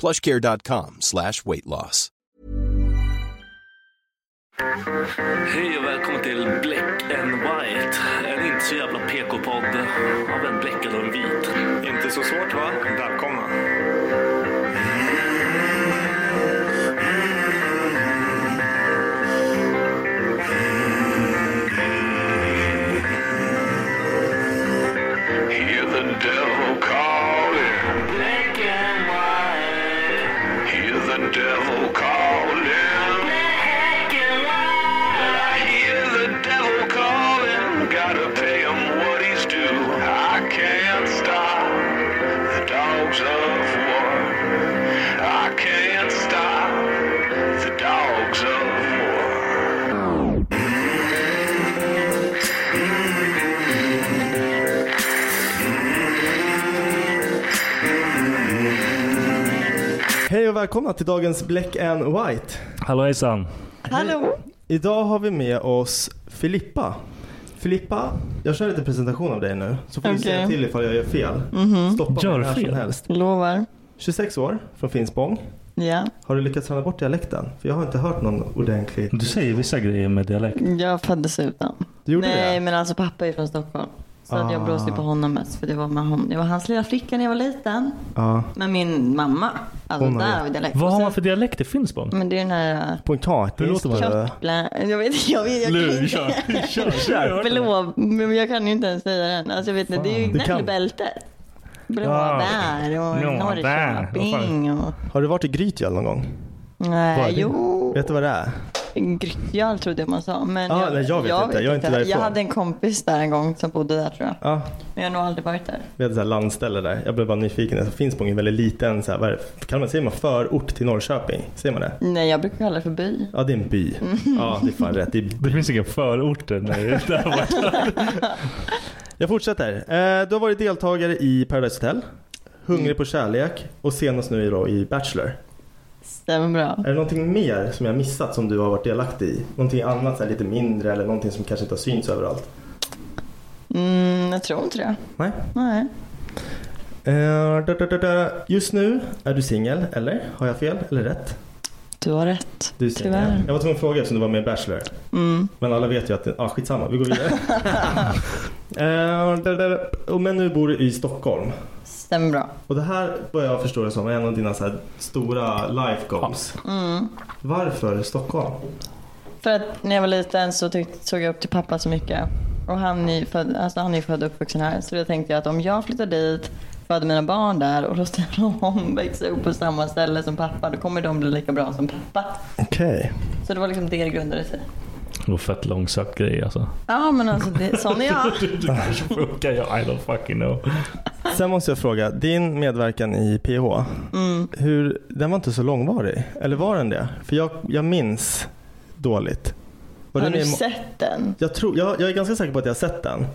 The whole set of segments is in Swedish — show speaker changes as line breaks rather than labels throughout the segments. plushcare.com slash weight loss.
Hej och välkommen till Black and White. En inte så jävla PK-podd av en bläckad och en vit.
Inte så svårt va? Välkomna.
Hear the devil calling.
Black and white,
Hear the devil calling.
black and white.
I hear the devil calling. Gotta pay him what he's due. I can't stop the dogs of war. I can't stop the dogs of war.
Hej och välkomna till dagens Black and White.
Hallå hejsan.
Hallå!
Idag har vi med oss Filippa. Filippa, jag kör lite presentation av dig nu. Så får du
Okej. Mhm.
säga till ifall jag gör fel. Stoppa
Gör
mig när
fel?
som helst.
Lovar.
26 år, från Finspång.
Ja,
Har du lyckats träna bort dialekten? För jag har inte hört någon ordentligt.
Du säger vissa grejer med dialekt.
jag föddes utan.
Du gjorde
Nej,
det?
men alltså pappa är från Stockholm. Så att
Ah.
jag blåste på honom mest för det var med honom. Jag var hans lilla flicka när jag var liten.
Ja.
Men min mamma, alltså
Ah. Hon har
där
det.
har vi dialekt.
Vad
Och
har
sen-
man för dialekt i Finspång?
Men det är den här
Pointatis.
Hur låter man?
eller?
köttblä... Jag vet jag vet, jag kan
Nu,
inte.
kör. Kör, kör.
Blå, men jag kan ju inte ens säga den. Alltså jag vet inte, det är ju
Du kan.
gnällbältet.
Ja.
Blåbär och
Blåbär.
Norrköping och...
Har du varit i Grytgöl någon gång?
Vad är
Nej,
det?
jo.
Vet du vad det är?
Grytgöl trodde jag man sa. Men
Ah, nej, jag vet inte. Jag är inte
Jag
därifrån.
hade en kompis där en gång som bodde där tror jag.
Ja,
Men jag har nog aldrig varit där.
vi hade så här landställe där. Jag blev bara nyfiken. Alltså, Finspång är en väldigt liten, så här, vad är det? Kan man, säger man förort till Norrköping? Säger man det?
Nej, jag brukar kalla det för by. Mm.
Ja, det är en by. Ja, det är fan rätt. Det är
Det finns inga förorter. Nej, där var
Jag fortsätter. Eh, Du har varit deltagare i Paradise Hotel, Hungrig på kärlek och senast nu då i Bachelor.
Stämmer bra.
Är det någonting mer som jag missat som du har varit delaktig i? Någonting annat så här, lite mindre eller någonting som kanske inte har synts överallt?
Mm, jag tror inte det.
Nej.
Nej.
Eh, da, da, da, da. Just nu är du singel, eller? Har jag fel eller rätt?
Du har rätt.
Du är
Tyvärr.
singel. Jag var tvungen att fråga eftersom du var med i Bachelor.
Mm.
Men alla vet ju att, ja ah, skitsamma, vi går vidare. Eh, da, da, da. Och Men nu bor du i Stockholm.
Stämmer bra.
Och det här börjar jag förstå det som är en av dina så här stora life goals.
Mm.
Varför Stockholm?
För att när jag var liten så tyckte, såg jag upp till pappa så mycket. Och han är ju född, alltså han är ju född och uppvuxen här. Så då tänkte jag att om jag flyttar dit, föder mina barn där och låter dem växa upp på samma ställe som pappa, då kommer de bli lika bra som pappa.
Okej.
Så det var liksom det det grundade sig.
det var fett långsökt grej alltså.
Ja men alltså det, sån är jag.
Det kanske funkar. Jag I don't fucking know.
Sen måste jag fråga, din medverkan i PH,
Mm.
hur, den var inte så långvarig? Eller var den det? För jag, jag minns dåligt. Var
Har
den
du
med i må-
sett den?
Jag, tror, jag, jag är ganska säker på att jag har sett den.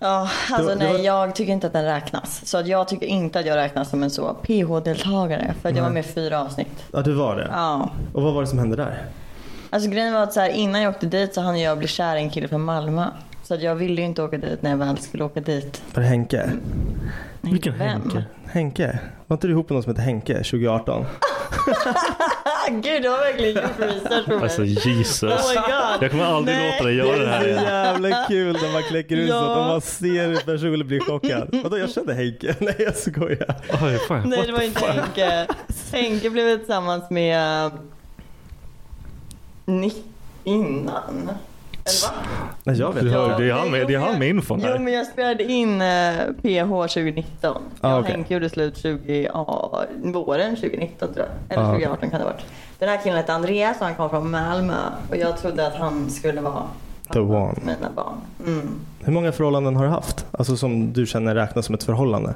Ja,
Det
alltså
var- det
nej
var-
jag tycker inte att den räknas. Så att jag tycker inte att jag räknas som en så PH-deltagare. För att jag var med i fyra avsnitt.
Ja, du var det.
Ja.
Och vad var det som hände där?
Alltså grejen var att så här, innan jag åkte dit så hann jag bli kär i en kille från Malmö. Så att jag ville ju inte åka dit när jag väl skulle åka dit.
Var det Henke?
Vilken vem? Henke?
Henke? Var inte du ihop med någon som hette Henke 2018?
Gud, du har verkligen gjort research på mig.
Alltså Jesus.
Oh my God.
jag kommer aldrig
Nej.
låta dig göra det här
Det är
igen.
så jävla kul när man kläcker ut
Ja.
sånt och man ser hur personen blir chockad. Vadå jag kände Henke? Nej jag skojar.
Oj, fan.
Nej det var inte Henke. Henke blev tillsammans med eh, Nick innan.
Nej jag vet
Du hör,
inte.
det är han med, det är han med infon
Jo
här.
men jag spelade in eh, PH 2019.
Ah,
jag och
okej.
Henke gjorde slut 20, ja, våren 2019 tror jag. Eller
Ah, okej.
2018 kan det ha varit. Den här killen hette Andreas och han kom från Malmö. Och jag trodde att han skulle vara
The one.
till mina barn. Mm.
Hur många förhållanden har du haft? Alltså som du känner räknas som ett förhållande?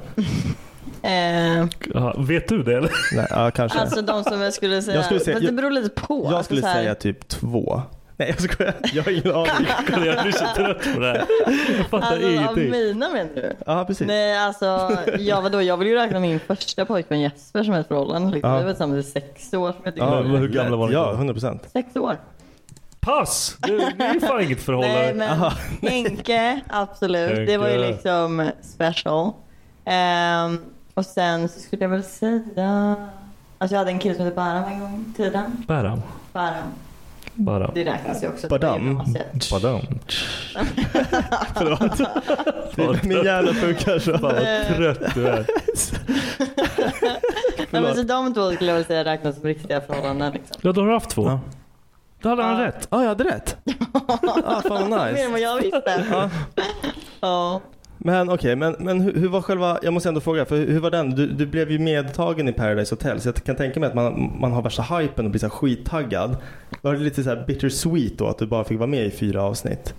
Eh,
Ja, vet du det eller?
Nej, ja kanske.
alltså de som jag skulle säga.
Jag skulle säga-
fast det beror lite på. Alltså,
jag skulle
så här-
säga typ två. Nej jag skojar. Jag har ingen aning.
Kolla, jag blir så trött på det här. Jag fattar
Alltså av
ingenting.
mina menar du?
Ja precis.
Nej alltså, ja, vadå, jag vill ju räkna min första pojkvän Jesper som ett förhållande. Liksom.
Ja.
Vi var tillsammans i sex år. Som jag tycker
Ja,
var-
Men hur gamla var ni?
Ja 100 procent.
Sex år.
Pass! Du, det är fan inget
Nej
förhållande.
men Henke, absolut. Det var ju
Henke.
liksom special. Ehm, och sen så skulle jag väl säga... Alltså jag hade en kille som hette Baram en gång i tiden.
Badam.
Baram.
Badam.
Det räknas ju också.
Badam?
Badam.
Min hjärna funkar så.
Fan vad
Eh.
trött du är.
Nej, men så de två skulle jag väl säga räknas som riktiga förhållanden. Liksom.
Ja, då har du haft två.
Ja.
Då hade han
Ja.
rätt.
Ja jag hade rätt. Ja fan vad
Mer än
nice.
vad jag visste.
Ja.
Ja.
Men okej, men, men hur, hur var själva, jag måste ändå fråga, för hur, hur var den? Du, du blev ju medtagen i Paradise Hotel så jag kan tänka mig att man, man har värsta hypen och blir så här skittaggad. Var det lite så här bittersweet då att du bara fick vara med i fyra avsnitt?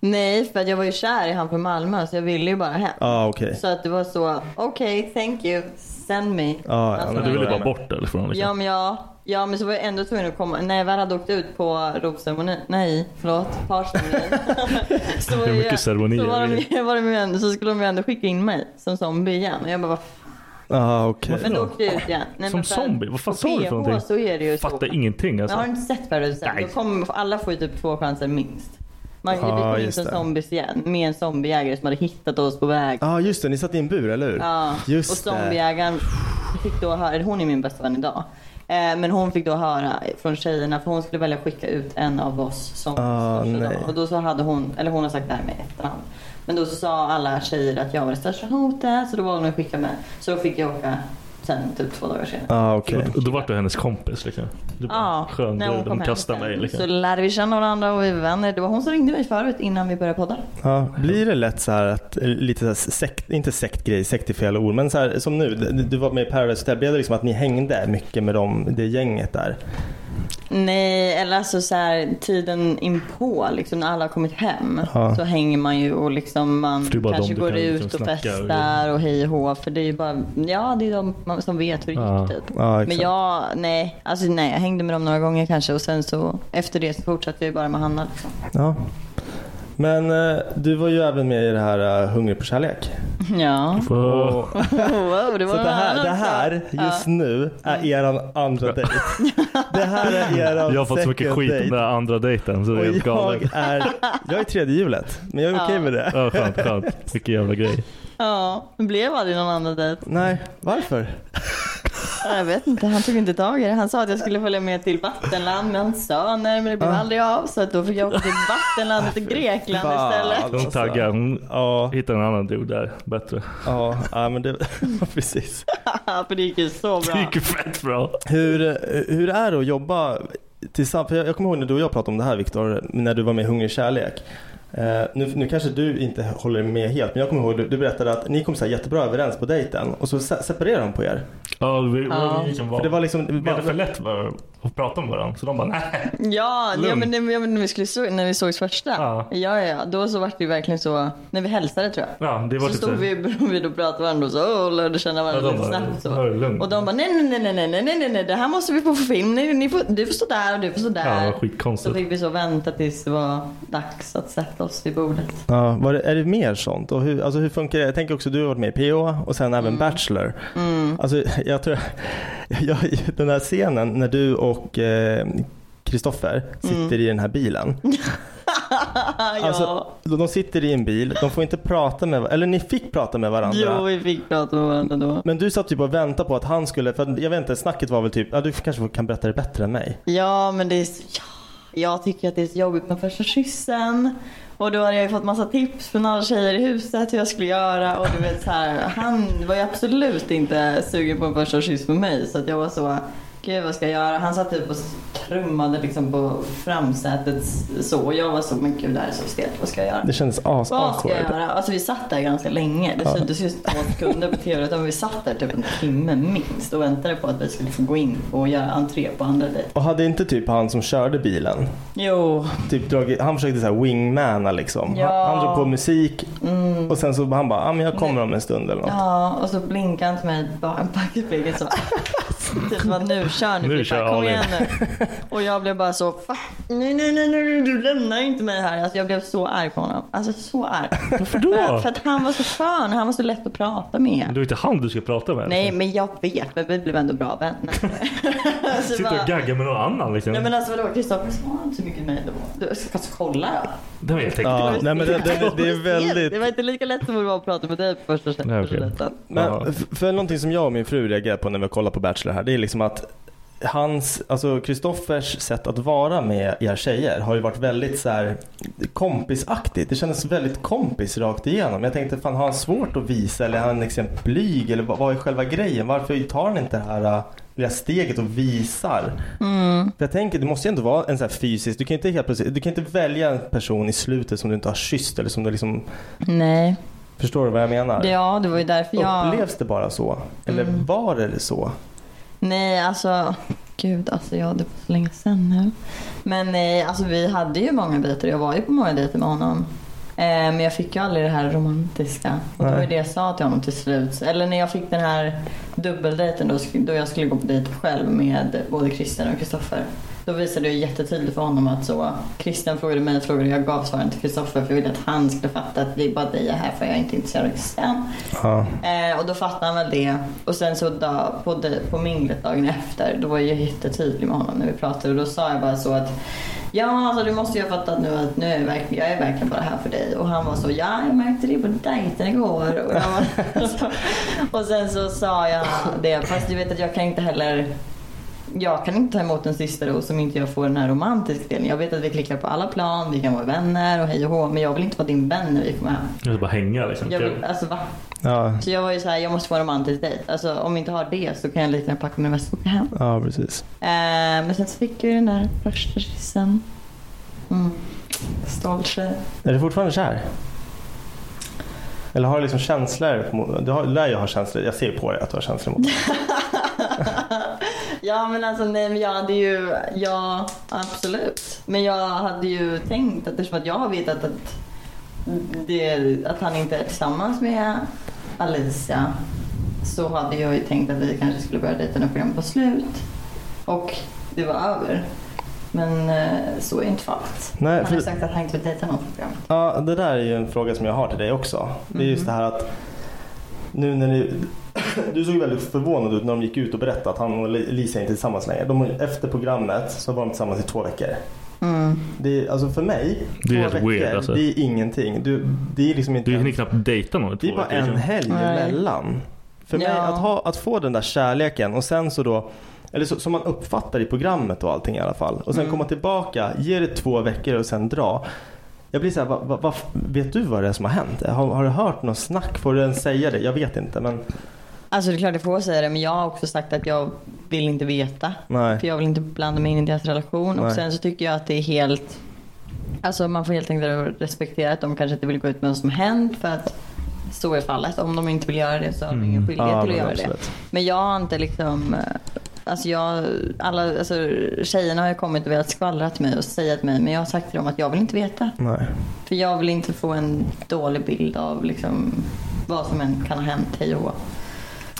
Nej, för att jag var ju kär i han från Malmö så jag ville ju bara hem.
Ja ah, okej. Ah,
Så att det var så, okej, thank you, send me.
Ja,
Alltså,
ja, men
Men du
då
ville
är jag
bara
med.
bort därifrån. Liksom.
Ja men, jag, ja men så var jag ändå tvungen att komma. När jag väl hade åkt ut på rosceremonin, nej förlåt, parceremonin. så, var
Hur
jag-
mycket ceremonier
så, var
är
de, var de ju ändå, så skulle de ju ändå skicka in mig som zombie igen. Och jag bara, vad fan?
Ah, okej.
Men då åkte jag ut igen. Nej,
Som
men för-
zombie? Vad fan
på
sa du för
PH
någonting?
så är det ju så.
Fattar ingenting
Men
alltså.
har du inte sett Paradise Hotel?
Nej.
Då kommer- Alla får ju typ två chanser minst. Man vi
Ja,
kom in
just
som
det.
zombies igen med en zombiejägare som hade hittat oss på väg.
Ja ah, just det, ni satt i en bur eller hur?
Ja,
just
och
det.
zombiejägaren fick då höra, eller hon är min bästa vän idag. Eh, Men hon fick då höra från tjejerna, för hon skulle välja skicka ut en av oss som
Ah,
största
nej.
då. Och då så hade hon, eller hon har sagt det här med efterhand. Men då så sa alla tjejer att jag var det största hotet, så då valde hon att skicka mig. Så då fick jag åka sen typ två dagar senare.
Ah, okej.
Och Då vart du hennes kompis liksom. Du bara,
Ja,
skön
när
grej,
hon kom
de
hem
kastar
sen.
mig liksom.
Så lärde vi känna varandra och vi var vänner. Det var hon som ringde mig förut innan vi började podda.
Ja, blir det lätt så här att, eh, lite så här sekt, inte sektgrej, sekt är fel ord, men så här, som nu, d- du var med i Paradise Hotel, blev det liksom att ni hängde mycket med dem, det gänget där?
Nej, eller alltså så här, tiden inpå, liksom, när alla har kommit hem
Ja.
så hänger man ju och liksom man
För det är bara
kanske
de du
går
kan
ut
liksom
och
snacka och-
festar och hej och hå. För det är ju bara, ja det är de man- som vet hur det
Ja.
gick typ.
Ja, exakt.
Men jag, nej, alltså nej, jag hängde med dem några gånger kanske och sen så efter det så fortsatte jag ju bara med Hanna liksom.
Ja. Men eh, du var ju även med i det här eh, Hungrig på kärlek.
Ja,
Wow.
Och,
wow, det var
så det
någon
här,
annan
det
också.
här just nu är eran andra dejt. Det här är eran
Jag har fått så mycket
second
skit om
date.
den här andra dejten så det är helt
Och
galet.
jag är, jag är tredje hjulet, men jag är
Ja.
okej med det.
Ja, skönt, skönt. Vilken jävla grej.
Ja, det blev aldrig någon annan dejt.
Nej, varför?
Jag vet inte, han tog inte tag i det. Han sa att jag skulle följa med till Vattenland med hans söner men det
Ah.
blev aldrig av så att då fick jag åka till Vattenland till Grekland
Fan.
istället.
De taggar. Hon
Ja,
hittar en annan dude där. Bättre.
ja, ja men det, precis.
För det gick ju så
Det
bra.
gick ju fett bra.
Hur, hur är det att jobba tillsammans? För jag, jag kommer ihåg när du och jag pratade om det här Viktor, när du var med i Hungrig kärlek. Eh, nu, nu kanske du inte håller med helt, men jag kommer ihåg du, du berättade att ni kom så här jättebra överens på dejten och så se- separerade de på er.
Ja, vi, vi liksom var,
För det var liksom...
vi hade för lätt för att prata med varandra. Så de bara, nej.
Ja, ja
Lugn.
men, när- ja, men när, vi skulle, så- när vi sågs första. Ja. ja, ja. Då så var det ju verkligen så. När vi hälsade tror jag.
Ja, det
så
var typ
stod
så här.
vi bredvid och pratade med varandra och så och lärde känna
Ja,
varandra
de
lite
bara,
snabbt. Så.
"Hör, lugn.
Och de bara nej, nej, nej, nej, nej, nej, nej, nej, det här måste vi få på film. Nej, ni får, du får stå där och du får stå
Ja,
där.
det var skitkonstigt.
så fick vi så vänta tills det var dags att sätta oss vid bordet.
Ja, var det, är det mer sånt? Och hur, alltså hur funkar det? Jag tänker också du har varit med i PO och sen även Bachelor.
Mm.
Alltså, jag tror, jag, den här scenen när du och Kristoffer sitter
Mm.
i den här bilen.
ja.
Alltså, de de sitter i en bil, de får inte prata med varandra, eller ni fick prata med varandra.
Jo, vi fick prata med varandra då.
Men du satt typ och väntade på att han skulle, för jag vet inte, snacket var väl typ, ja du kanske får- kan berätta det bättre än mig.
Ja, men det är så, ja, Jag tycker att det är så jobbigt med första kyssen. Och då hade jag ju fått massa tips från alla tjejer i huset hur jag skulle göra. Och du vet så här, han var ju absolut inte sugen på en första kyss med mig. Så att jag var så, gud vad ska jag göra? Han satt typ och trummade liksom på framsätet så. Och jag var så, men gud det här är så stelt, vad ska jag göra?
Det kändes as
Vad ska jag
awkward.
göra? Alltså vi satt där ganska länge. Det
Ja.
syntes ju två sekunder på tv utan vi satt där typ en timme minst och väntade på att vi skulle få gå in och göra entré på andra dejten.
Och hade inte typ han som körde bilen,
Jo.
typ dragit, han försökte så här wingmana liksom.
Ja.
Han, han drog på musik
Mm.
och sen så han bara, ja men jag kommer om en stund eller något.
Ja, och så blinkade han till mig bara en backspegel så. Typ bara nu kör nu,
Nu
nu
kör
kom
Ali.
igen nu. Och jag blev bara så, "Fan, nej nej nej nej du lämnar inte mig här. Alltså jag blev så arg på honom. Alltså så arg.
Varför
För,
då?
för att han var så skön, han var så lätt att prata med.
Men Det var inte han du skulle prata med. liksom.
Nej men jag vet, men vi blev ändå bra vänner. Alltså,
Sitter och gaggar med någon annan liksom.
Nej men alltså vadå Kristoffer sa inte så mycket med mig då. Du ska alltså kolla då.
Det var helt
Ja,
enkelt.
nej, men det- det- det är väldigt-
Det var inte lika lätt som det var att prata med dig på första första dejten.
Men f- för någonting som jag och min fru reagerar på när vi kollar på Bachelor här, det är liksom att hans, alltså Kristoffers sätt att vara med er tjejer har ju varit väldigt så här kompisaktigt. Det kändes väldigt kompis rakt igenom. Jag tänkte fan har han svårt att visa eller är han liksom blyg eller vad vad är själva grejen? Varför tar han inte det här äh, lilla steget och visar?
Mm.
För jag tänker, det måste ju ändå vara en sån här fysisk, du kan ju inte helt plötsligt, du kan ju inte välja en person i slutet som du inte har kysst eller som du liksom,
Nej.
förstår du vad jag menar?
Ja det var ju därför jag... Mm.
Upplevs det bara så? Eller var det så?
Nej alltså. Gud alltså jag det var så länge sedan nu. Men nej alltså vi hade ju många dejter. Jag var ju på många dejter med honom. Eh, men jag fick ju aldrig det här romantiska. Och det var ju
Nej.
det jag sa till honom till slut. Eller när jag fick den här dubbeldejten då, sk- då jag skulle gå på dejt själv med både Christian och Kristoffer. Då visade jag jättetydligt för honom att så Christian frågade mig frågor och jag gav svaren till Kristoffer för jag ville att han skulle fatta att det är bara dig jag är här för jag är inte intresserad av Christian.
Ja.
Eh, och då fattade han väl det. Och sen så dag, på, de- på minglet dagen efter, då var jag jättetydlig med honom när vi pratade. Och då sa jag bara så att Ja, alltså du måste ju ha fattat nu att nu är jag, verkligen, jag är verkligen bara här för dig. Och han var så, ja jag märkte det på dejten igår. Och, jag var, så, och sen så sa jag det, fast du vet att jag kan inte heller jag kan inte ta emot en sista ros om inte jag får den här romantiska delen. Jag vet att vi klickar på alla plan, vi kan vara vänner och hej och hå. Men jag vill inte vara din vän när vi kommer hem.
Jag vill bara hänga liksom.
Jag vill, alltså va?
Ja,
Så jag var ju så här, jag måste få en romantisk dejt. Alltså om jag inte har det så kan jag lika gärna packa mina väskor och åka hem.
ja precis.
Eh, men sen så fick jag ju den där första kyssen. Mm. Stolt tjej.
Är du fortfarande kär? Eller har du liksom känslor? mot- Du har, lär ju ha känslor. Jag ser ju på dig att du har känslor mot
Ja men alltså nej men jag hade ju, ja absolut. Men jag hade ju tänkt att eftersom att jag har vetat att, det, att han inte är tillsammans med Alicia. Så hade jag ju tänkt att vi kanske skulle börja dejta när programmet var slut. Och det var över. Men eh, så är inte fallet.
Nej,
han har
för-
sagt att han inte vill dejta någon på programmet. Mm-hmm.
Ja, det där är ju en fråga som jag har till dig också. Det är just det här att nu när ni, du såg väldigt förvånad ut när de gick ut och berättade att han och Lisa inte är tillsammans längre. De, efter programmet så var de tillsammans i två veckor. Det är, alltså för mig,
Det är
två
helt
veckor,
weird, alltså.
det är ingenting. Du, det är liksom inte
Du hinner
ens-
knappt dejta någon i
Det är
två
bara
veckor,
en
liksom.
helg
Nej.
emellan. För mig,
Ja.
att, ha, att få den där kärleken och sen så då, eller så, som man uppfattar i programmet och allting i alla fall. Och sen
Mm.
komma tillbaka, ge det två veckor och sen dra. Jag blir såhär, va, va, va, vet du vad det är som har hänt? Har, har du hört något snack? Får du ens säga det? Jag vet inte men
Alltså det är klart jag får säga det men jag har också sagt att jag vill inte veta.
nej.
För jag vill inte blanda mig in i deras relation. Och
Nej.
sen så tycker jag att det är helt... Alltså man får helt enkelt respektera att de kanske inte vill gå ut med vad som hänt för att så är fallet. Om de inte vill göra det så har de
Mm.
ingen skyldighet
Ja,
till att
men
göra det.
absolut.
Men jag har inte liksom eh, Alltså jag, alla, alltså tjejerna har ju kommit och velat skvallra till mig och säga till mig men jag har sagt till dem att jag vill inte veta.
Nej.
För jag vill inte få en dålig bild av liksom vad som än kan ha hänt, hej och hå.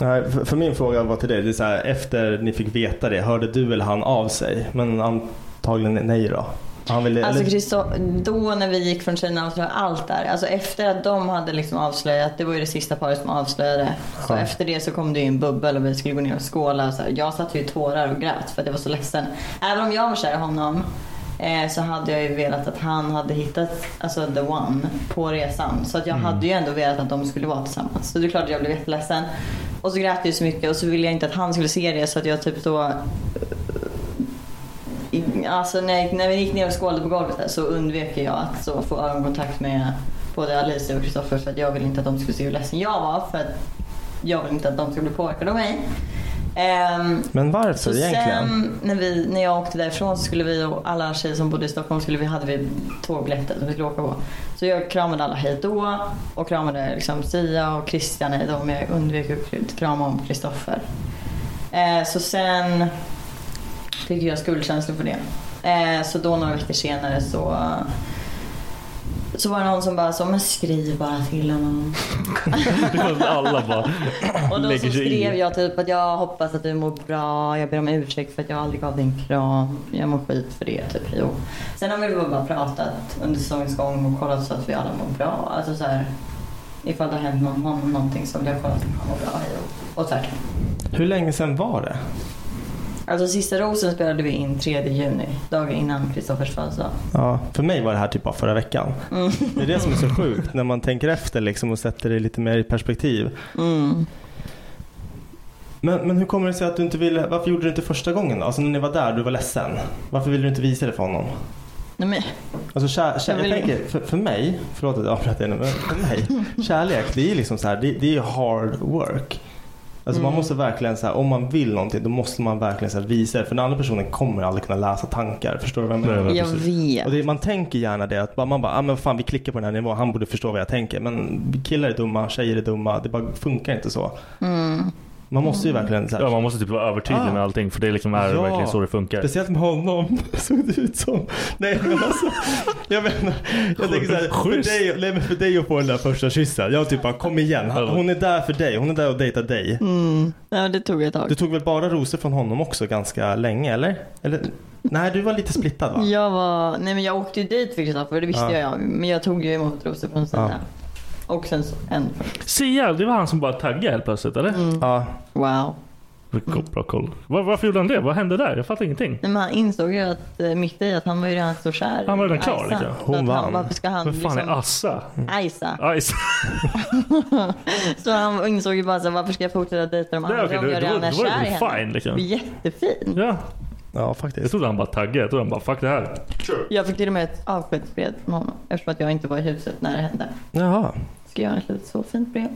Nej, för, för min fråga var till dig. Det är så här, efter ni fick veta det, hörde du eller han av sig? Men antagligen nej då. Han ville,
Alltså
eller-
Christo- då när vi gick från Kina och avslöjade allt där. Alltså efter att de hade liksom avslöjat, det var ju det sista paret som avslöjade. Så
Ja.
efter det så kom det ju en bubbel och vi skulle gå ner och skåla. Och så här. Jag satt ju i tårar och grät för att jag var så ledsen. Även om jag var kär i honom eh, så hade jag ju velat att han hade hittat alltså, the one på resan. Så att jag hade ju ändå velat att de skulle vara tillsammans. Så det är klart att jag blev jätteledsen. Och så grät jag ju så mycket och så ville jag inte att han skulle se det så att jag typ då i- Alltså när, jag gick- när vi gick ner och skålade på golvet där så undvek jag att så få ögonkontakt med både Alicia och Kristoffer för att jag ville inte att de skulle se hur ledsen jag var för att jag ville inte att de skulle bli påverkade av mig. Ehm,
Men varför
så
egentligen?
sen när, vi, när jag åkte därifrån så skulle vi och alla tjejer som bodde i Stockholm skulle vi, hade vi tågbiljetter som vi skulle åka på. Så jag kramade alla hej då och kramade liksom Sia och Christian hej då men jag undvek att krama om Kristoffer. Eh, så sen fick jag skuldkänslor för det. Eh, så då några veckor senare så så var det någon som bara så, men skriv bara till honom.
Alla bara
Och då så
lägger sig
skrev
i.
jag typ att jag hoppas att du mår bra, jag ber om ursäkt för att jag aldrig gav dig en kram, jag mår skit för det. Typ. Jo. Sen har vi väl bara pratat under säsongens gång och kollat så att vi alla mår bra. Alltså så här, ifall det har hänt någon, någon, någonting så vill jag kolla att han mår bra. hej då. Och tvärtom.
Hur länge sedan var det?
Alltså sista rosen spelade vi in 3 juni, dagen innan Kristoffers födelsedag.
Ja, för mig var det här typ bara förra veckan.
Mm.
Det är det som är så sjukt när man tänker efter liksom och sätter det lite mer i perspektiv.
Mm.
Men, men hur kommer det sig att du inte ville, varför gjorde du inte första gången då? Alltså när ni var där, du var ledsen. Varför ville du inte visa det för honom?
Nej, men,
Alltså kär, kär,
Jag vill-
jag tänker, för, för mig, förlåt att jag avbröt dig nu, men för mig, kärlek det är ju liksom så här, det, det är ju hard work. Alltså man
Mm.
måste verkligen så här, om man vill någonting då måste man verkligen så här visa det. För den andra personen kommer aldrig kunna läsa tankar. Förstår du vad jag menar?
jag vet.
Och det, man tänker gärna det att bara- man bara, ah, men fan vi klickar på den här nivån, han borde förstå vad jag tänker. Men killar är dumma, tjejer är dumma, det bara funkar inte så.
Mm.
Man måste ju verkligen så här,
Ja, man måste typ vara övertydlig
Ah.
med allting för det är liksom är
Ja.
verkligen så det funkar.
Speciellt med honom såg det ut som. Nej men alltså. Jag menar. Jag tänker såhär. För
Schysst.
dig, nej, men för dig att få den där första kyssen. Jag typ bara kom igen. Han- Hon är där för dig. Hon är där och dejtar dig.
Mm. Nej, men det tog ett tag.
Du tog väl bara rosor från honom också ganska länge eller? eller? Nej du var lite splittad va?
Jag var, nej men jag åkte ju dit för Kristoffer, det visste
Ja.
jag. Men jag tog ju emot rosor från Stina. Och sen så en.
Sia, det var han som bara taggade helt plötsligt eller?
Ja.
Wow.
Vilken Bra koll. Var, varför gjorde han det? Vad hände där? Jag fattar ingenting.
Nej, men han insåg ju att eh, mitt i att han var ju redan så kär.
Han var redan
i
klar,
Isa.
liksom.
Hon
Så att han-
vann.
Varför ska han
Vad fan är
liksom...
Assa? Ah,
Isa.
Ajs.
Så han insåg ju bara så här, varför ska jag fortsätta dejta de
Nej,
andra
okej,
om
då-
jag
då-
redan är
då var det
kär i
väl
henne?
fine, liksom.
Jättefin.
Ja,
Ja
jag
faktiskt.
trodde han bara taggade. Jag trodde han bara fuck det här.
Jag fick till och med ett avskedsbrev från honom eftersom att jag inte var i huset när det hände.
Jaha.
Skrev jag ett litet så fint brev.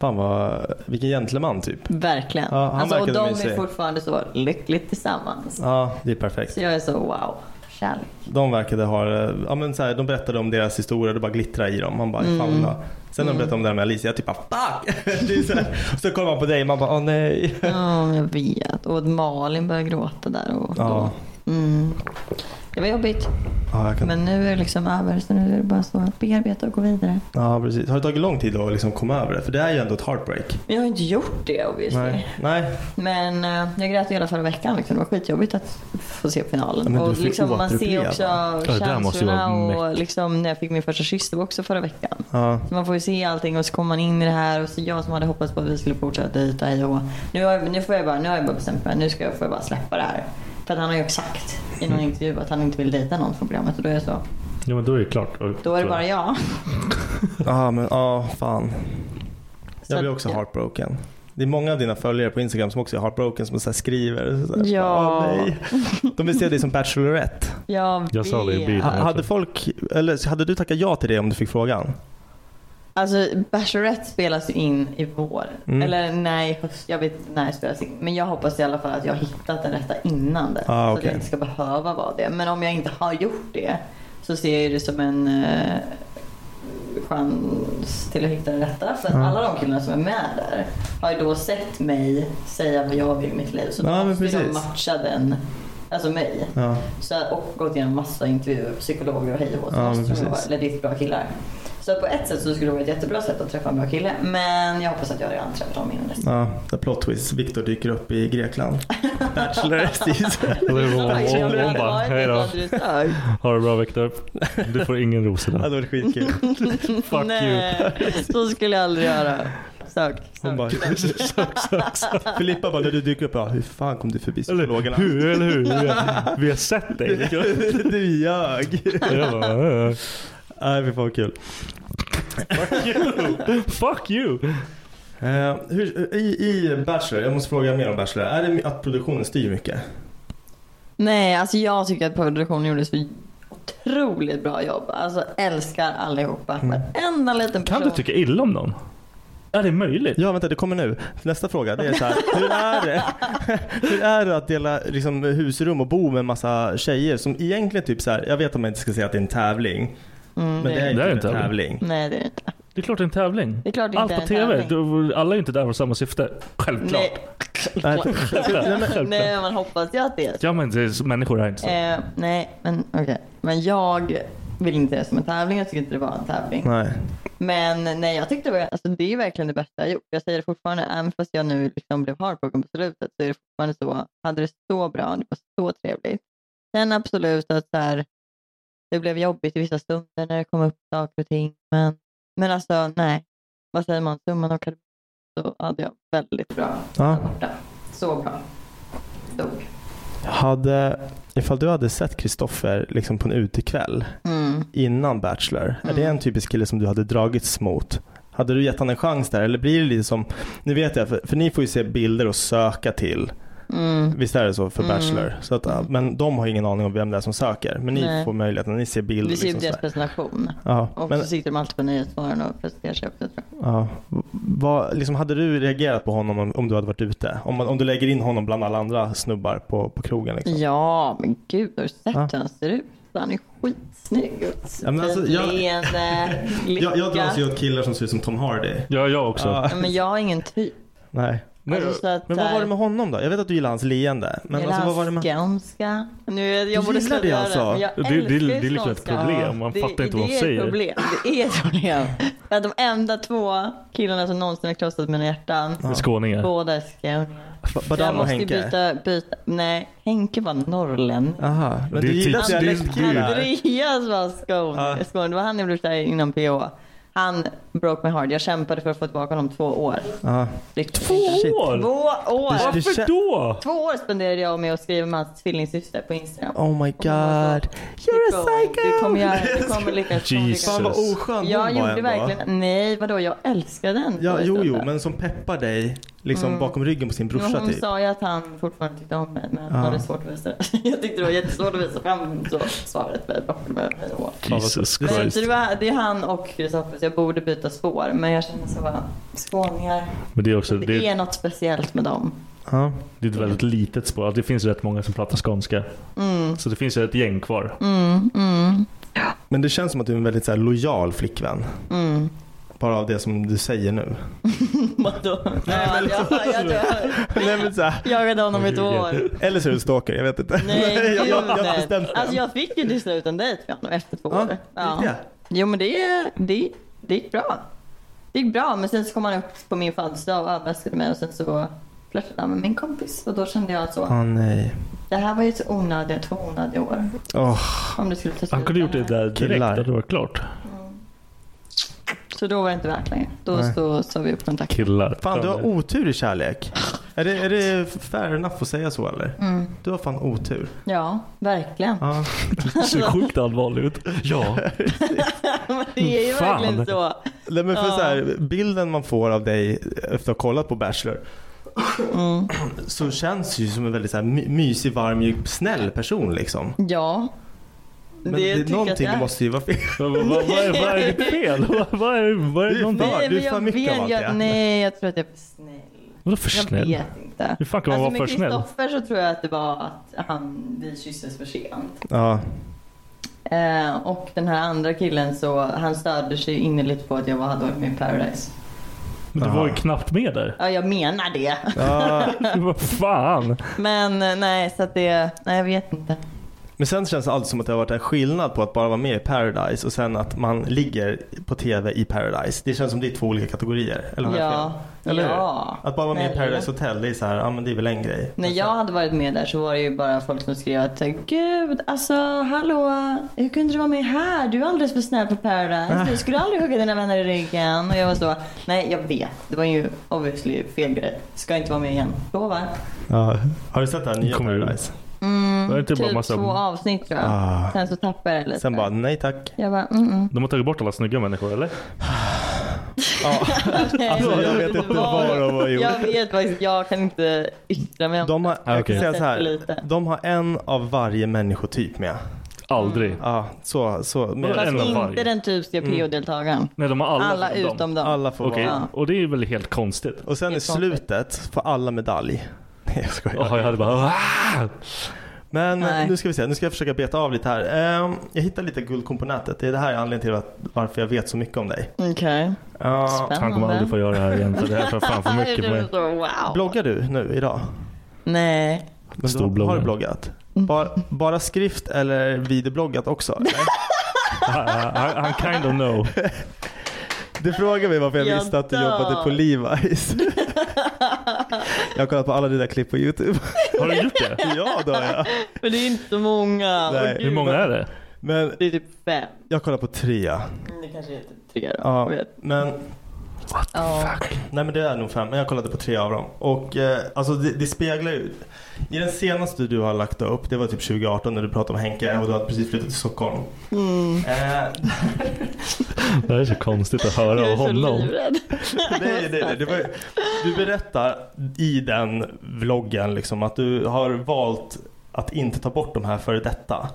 Fan vad, vilken gentleman typ.
Verkligen.
Ja, han
alltså, och
verkade
de är
mysig.
fortfarande så lyckligt tillsammans.
Ja det är perfekt.
Så jag är så wow, kärlek.
De verkade ha, eh, ja men så här, de berättade om deras historia, det bara glittrade i dem. Man bara, fan
Mm.
vad bra. Sen när de berättade om det här med Alicia, jag typ bara fuck! Det är så, här. så kollar man på dig, man bara åh nej.
Ja, jag vet. Och att Malin började gråta där och
Ja,
då. Mm. Det var jobbigt.
ja, jag kan,
Men nu är det liksom över så nu är det bara så att bearbeta och gå vidare.
ja precis. Har det tagit lång tid att liksom komma över det? För det är ju ändå ett heartbreak.
Men jag har inte gjort det obviously.
Nej, nej.
Men eh, jag grät ju hela förra veckan. Liksom. Det var skitjobbigt att få se
Ja,
finalen.
men du
och
får
liksom, man ser
återuppleva.
också
det där måste ju vara
känslorna och
mäktigt.
liksom, när jag fick min första kyss, det var också förra veckan.
Ja.
Så man får ju se allting och så kommer man in i det här och så jag som hade hoppats på att vi skulle fortsätta dejta hej och hå. nu, har jag- nu får jag bara, nu har jag bara bestämt mig, nu ska jag, får jag bara släppa det här. För att han har ju sagt i någon intervju att han inte vill dejta någon från programmet och då är jag så,
Ja men då är det klart. Och-
då är det bara jag.
Ja men ja, fan.
Så
Jag blir
att-
också heartbroken. Det är många av dina följare på Instagram som också är heartbroken som så här skriver. Så här,
Ja.
"Åh, nej." De vill se dig som Bachelorette.
Jag,
Jag sa det i
vet.
bilen.
Ha, hade, folk, eller, hade du tackat ja till det om du fick frågan?
Alltså Bachelorette spelas ju in i vår.
Mm.
Eller nej, höst. jag vet inte när det spelas in. Men jag hoppas i alla fall att jag har hittat den rätta innan det.
Ah,
Så att
okej.
jag inte ska behöva vara det. Men om jag inte har gjort det så ser jag ju det som en eh, chans till att hitta den rätta. För att
Ja.
alla de killarna som är med där har ju då sett mig säga vad jag vill i mitt liv. Så
Ja,
då
men
måste de
precis.
matcha den, alltså mig.
Ja.
Så, här- och gått igenom massa intervjuer, psykologer och hej och hå. Så
Ja, men
måste de vara
precis.
legit bra killar. Så på ett sätt så skulle det vara ett jättebra sätt att träffa en bra kille. Men jag hoppas att jag redan träffat dem innan dess.
Ja, där plot twist. Viktor dyker upp i Grekland. Bachelor season.
Hon hon bara, hej då. Ha det bra Viktor. Du får ingen ros idag.
Ja, det var skitkul.
Fuck
Nej, så skulle jag aldrig göra. Sök,
Hon bara, sök, sök, sök. Filippa bara, när du dyker upp, ja, hur fan kom du förbi psykologerna?
Hur, eller hur? Vi har sett dig.
Du ljög.
Jag bara, "Äh, äh."
Nej, fy fan vad kul.
Fuck you!
Eh, hur, i, I Bachelor, jag måste fråga mer om Bachelor. Är det att produktionen styr mycket?
Nej, alltså jag tycker att produktionen gjorde så otroligt bra jobb. Alltså älskar allihopa.
Mm.
Varenda liten person.
Kan du tycka illa om någon? Är det möjligt?
Ja, vänta, det kommer nu. Nästa fråga, det är så här. Hur är det, hur är det att dela liksom, husrum och bo med en massa tjejer som egentligen typ så här, jag vet om jag inte ska säga att det är en tävling,
Mm,
men det är,
Det är
ju
en
typ en tävling.
Nej, det är det inte.
Det är klart det är en tävling.
Det är klart det
Allt
inte
på
är en
TV.
tävling.
Du- Alla är ju inte där för samma syfte. Självklart.
Nej.
Nej,
Självklart.
Nej, men man hoppas ju att det är så.
Ja men det är, människor är inte så.
Eh, nej, men okej. Men jag vill inte det som en tävling. Jag tycker inte det var en tävling.
Nej.
Men nej, jag tyckte det var, alltså, det är verkligen det bästa jag gjort. Jag säger det fortfarande, även fast jag nu liksom blev heartbroken på slutet, så är det fortfarande så. Hade det så bra, det var så trevligt. Sen absolut att så här, det blev jobbigt i vissa stunder när det kom upp saker och ting. Men, men alltså nej, vad säger man? Summan och kardemumman så hade jag väldigt bra
Ja.
där borta. Så bra. Stort.
Hade, ifall du hade sett Kristoffer liksom på en utekväll
Mm.
innan Bachelor, är
Mm.
det en typisk kille som du hade dragits mot? Hade du gett han en chans där eller blir det lite som, nu vet jag, för, för ni får ju se bilder och söka till,
Mm.
visst är det så för
Mm.
Bachelor? Så att, ja, men de har ingen aning om vem det är som söker, men ni
Nej.
får möjligheten, ni ser bilder.
Vi ser ju
liksom,
deras
sådär.
presentation.
ja,
Och
men,
så sitter de alltid på Nyhetsmorgon och presenterar sig upp det, tror jag.
ja, vad, liksom, hade du reagerat på honom om, om du hade varit ute? Om, man- om du lägger in honom bland alla andra snubbar på, på krogen? Liksom.
Ja, men gud, har du sett
Ja.
hur han ser ut? Han är skitsnygg.
Ja, men alltså, jag-
Fint leende, lycka.
Jag, jag dras ju åt killar som ser ut som Tom Hardy.
Ja jag också.
Ja.
Ja, men jag har ingen typ.
Nej.
Men-
Alltså, så att,
Men vad var det med honom då? Jag vet att du gillar hans leende. Men
Gillar
alltså, vad var det
han
med...
skånska? Nu, jag, jag
Du
borde
gillar
sluta
det
göra
alltså?
men jag
Det- det-
älskar ju
det är liksom ett
skånska.
problem. Man fattar inte vad
det
de
är ett
säger.
Problem. Det är ett problem. För att de enda två killarna som någonsin har krossat mina hjärtan,
Skåningar.
båda är skåningar. Så
Ba-
Jag
Badam och
måste ju
Henke?
byta, byta. Nej, Henke var norrlänning.
Aha, men
Det
du
är
gillar
typ- det är-
dialektkillar?
Andreas var skon.
Ja.
skon. Det var han jag blev kär i innan PH. Han broke my heart. Jag kämpade för att få tillbaka honom två år.
Ja.
Riktigt.
Två år?
Två år!
Det-
Varför då?
Två år spenderade jag med att skriva med hans tvillingsyster på Instagram.
Oh my god. You're a psycho!
Du kommer göra det. Du kommer lyckas. Du kommer lyckas.
Fan vad oskön hon var
Jag gjorde
ändå.
verkligen, nej vadå jag älskar den.
Ja, jo, jo, men som peppar dig liksom bakom ryggen på sin
Men
brorsa
hon
typ.
sa ju att han fortfarande tyckte om mig men han
Ja.
hade svårt att visa det. Jag tyckte det var jättesvårt att visa fram så svaret med bakom mig.
Jesus
Men, så det,
Christ.
var, det är han och Kristoffer, så jag borde byta spår. Men jag känner så bara, skåningar.
Men det är också
Det,
det är,
är något speciellt med dem.
Ja.
det är ett väldigt litet spår. Alltså, Det finns rätt många som pratar skånska.
Mm.
Så det finns ett gäng kvar.
Men det känns som att du är en väldigt så här, lojal flickvän.
Mm.
Bara av det som du säger nu.
Vadå? Ja, jag, jag, jag,
liksom- Nej, men så här,
jagade honom i två år.
eller så är du stalker, jag vet inte.
Nej, gud,
jag, jag, jag har
nej.
inte bestämt mig.
Alltså jag fick ju till slut en dejt med honom efter två
Ja,
år.
gick det?
Jo men det, det, det gick bra. Det gick bra men sen så kom han upp på min födelsedag och överraskade mig och sen så flörtade han med min kompis och då kände jag så.
Åh nej.
Det här var ju så onödiga, två onödiga år.
Åh,
Om det skulle ta slut.
Han kunde gjort det där direkt. Det
Killar.
hade varit klart.
Så då var det inte värt längre. Då
Nej.
så sa vi upp kontakten.
Killar.
Fan, du har otur i kärlek. Är det, är det fair enough att säga så eller? Du har fan otur.
Mm. Ja, verkligen.
Ja.
ser sjukt allvarlig ut. Ja.
Men det är ju
Fan.
verkligen så.
Nej, men för
Ja.
så här, bilden man får av dig efter att ha kollat på Bachelor
Mm.
så känns du ju som en väldigt så här, my- mysig, varm, mjuk, snäll person liksom.
Ja.
Men
tycker
det,
jag
är
att
någonting
jag är.
måste ju vara fel.
Vad, vad, vad, vad, är, vad är ditt fel? Vad, vad är, vad är
Du-
någon
Ja,
Nej,
du
men
är för
jag
mycket av
vet,
allt det.
jag, nej, jag tror att jag är för snäll.
Vadå för
Jag
snäll?
vet inte.
Hur fan kan man vara för
Alltså, med
snäll?
Kristoffer så tror jag att det var att han, vi kysstes för sent.
Ja.
Eh, och den här andra killen så han störde sig innerligt på att jag var- hade varit med i Paradise.
Men du var ju knappt med där.
Ja, jag menar det.
Vad fan.
Men eh, nej, så att det, nej jag vet inte.
Men sen känns det alltid som att det har varit en skillnad på att bara vara med i Paradise och sen att man ligger på TV i Paradise. Det känns som det är två olika kategorier. Eller har jag
Ja.
fel? Eller hur?
Ja.
Att bara vara med i
Eller?
Paradise Hotel, det är så här, ja men det är väl en grej.
När jag hade varit med där så var det ju bara folk som skrev att Gud, alltså hallå, hur kunde du vara med här? Du är alldeles för snäll på Paradise. Du skulle aldrig hugga dina vänner i ryggen. Och jag var så, nej jag vet. Det var ju obviously fel grej. Ska inte vara med igen. Lovar.
Har du sett den nya
Kommer du-
Paradise?
Mm,
Det är inte bara
typ
massa-
Mm.
två avsnitt tror jag.
Ah.
Sen så tappade jag det lite.
Sen bara, nej tack.
Jag bara, mm, mm.
De har tagit bort alla snygga människor eller?
Alltså, jag vet inte vad de har gjort.
Jag vet faktiskt, jag kan inte yttra mig om
De har, jag kan
okej.
säga så
För
här,
lite.
de har en av varje människotyp med.
Aldrig.
Mm.
Ja, så, så.
Vadå
Med,
en av
Fast
varje?
inte den typiska PO-deltagaren.
Nej de har alla,
Alla utom dem.
Mm. alla får
Okej,
vara.
Ja.
och det är väl helt konstigt?
Och sen i slutet får alla medalj. Nej jag skojar.
Jaha, jag hade bara "Ah!"
Men
Nej.
nu ska vi se, nu ska jag försöka beta av lite här. Ehm, jag hittade lite guldkorn på nätet. Det är det här är anledningen till att, varför jag vet så mycket om dig.
Okej.
Ja.
Han kommer aldrig få göra det här igen för det här är för fan för mycket för mig.
Du är så, wow.
bloggar du nu idag?
Nej.
Men
Stor
du har- har
bloggare.
du bloggat? Bara, bara skrift eller videobloggat också? eller?
Han- Han han kind of know.
du frågar mig varför jag,
Jag
visste att du
dör.
jobbade på Levi's. jag har kollat på alla dina klipp på YouTube.
Har du gjort det?
ja, det har jag.
Men det är inte många.
Nej.
Åh,
Hur
gud.
många är det?
Men
Det är typ fem.
jag kollar på trea.
Det kanske är typ tre då.
Ja,
Jag vet.
men
Ja.
Nej men det är nog fem, men jag kollade på tre av dem. Och eh, alltså det, det speglar ju. I den senaste du har lagt upp, det var typ 2018 när du pratade om Henke och du hade precis flyttat till Stockholm.
Mm.
Eh,
Det här är så konstigt att höra av honom.
livrädd.
nej, nej, nej, det var, ju- du berättar i den vloggen liksom att du har valt att inte ta bort de här före detta.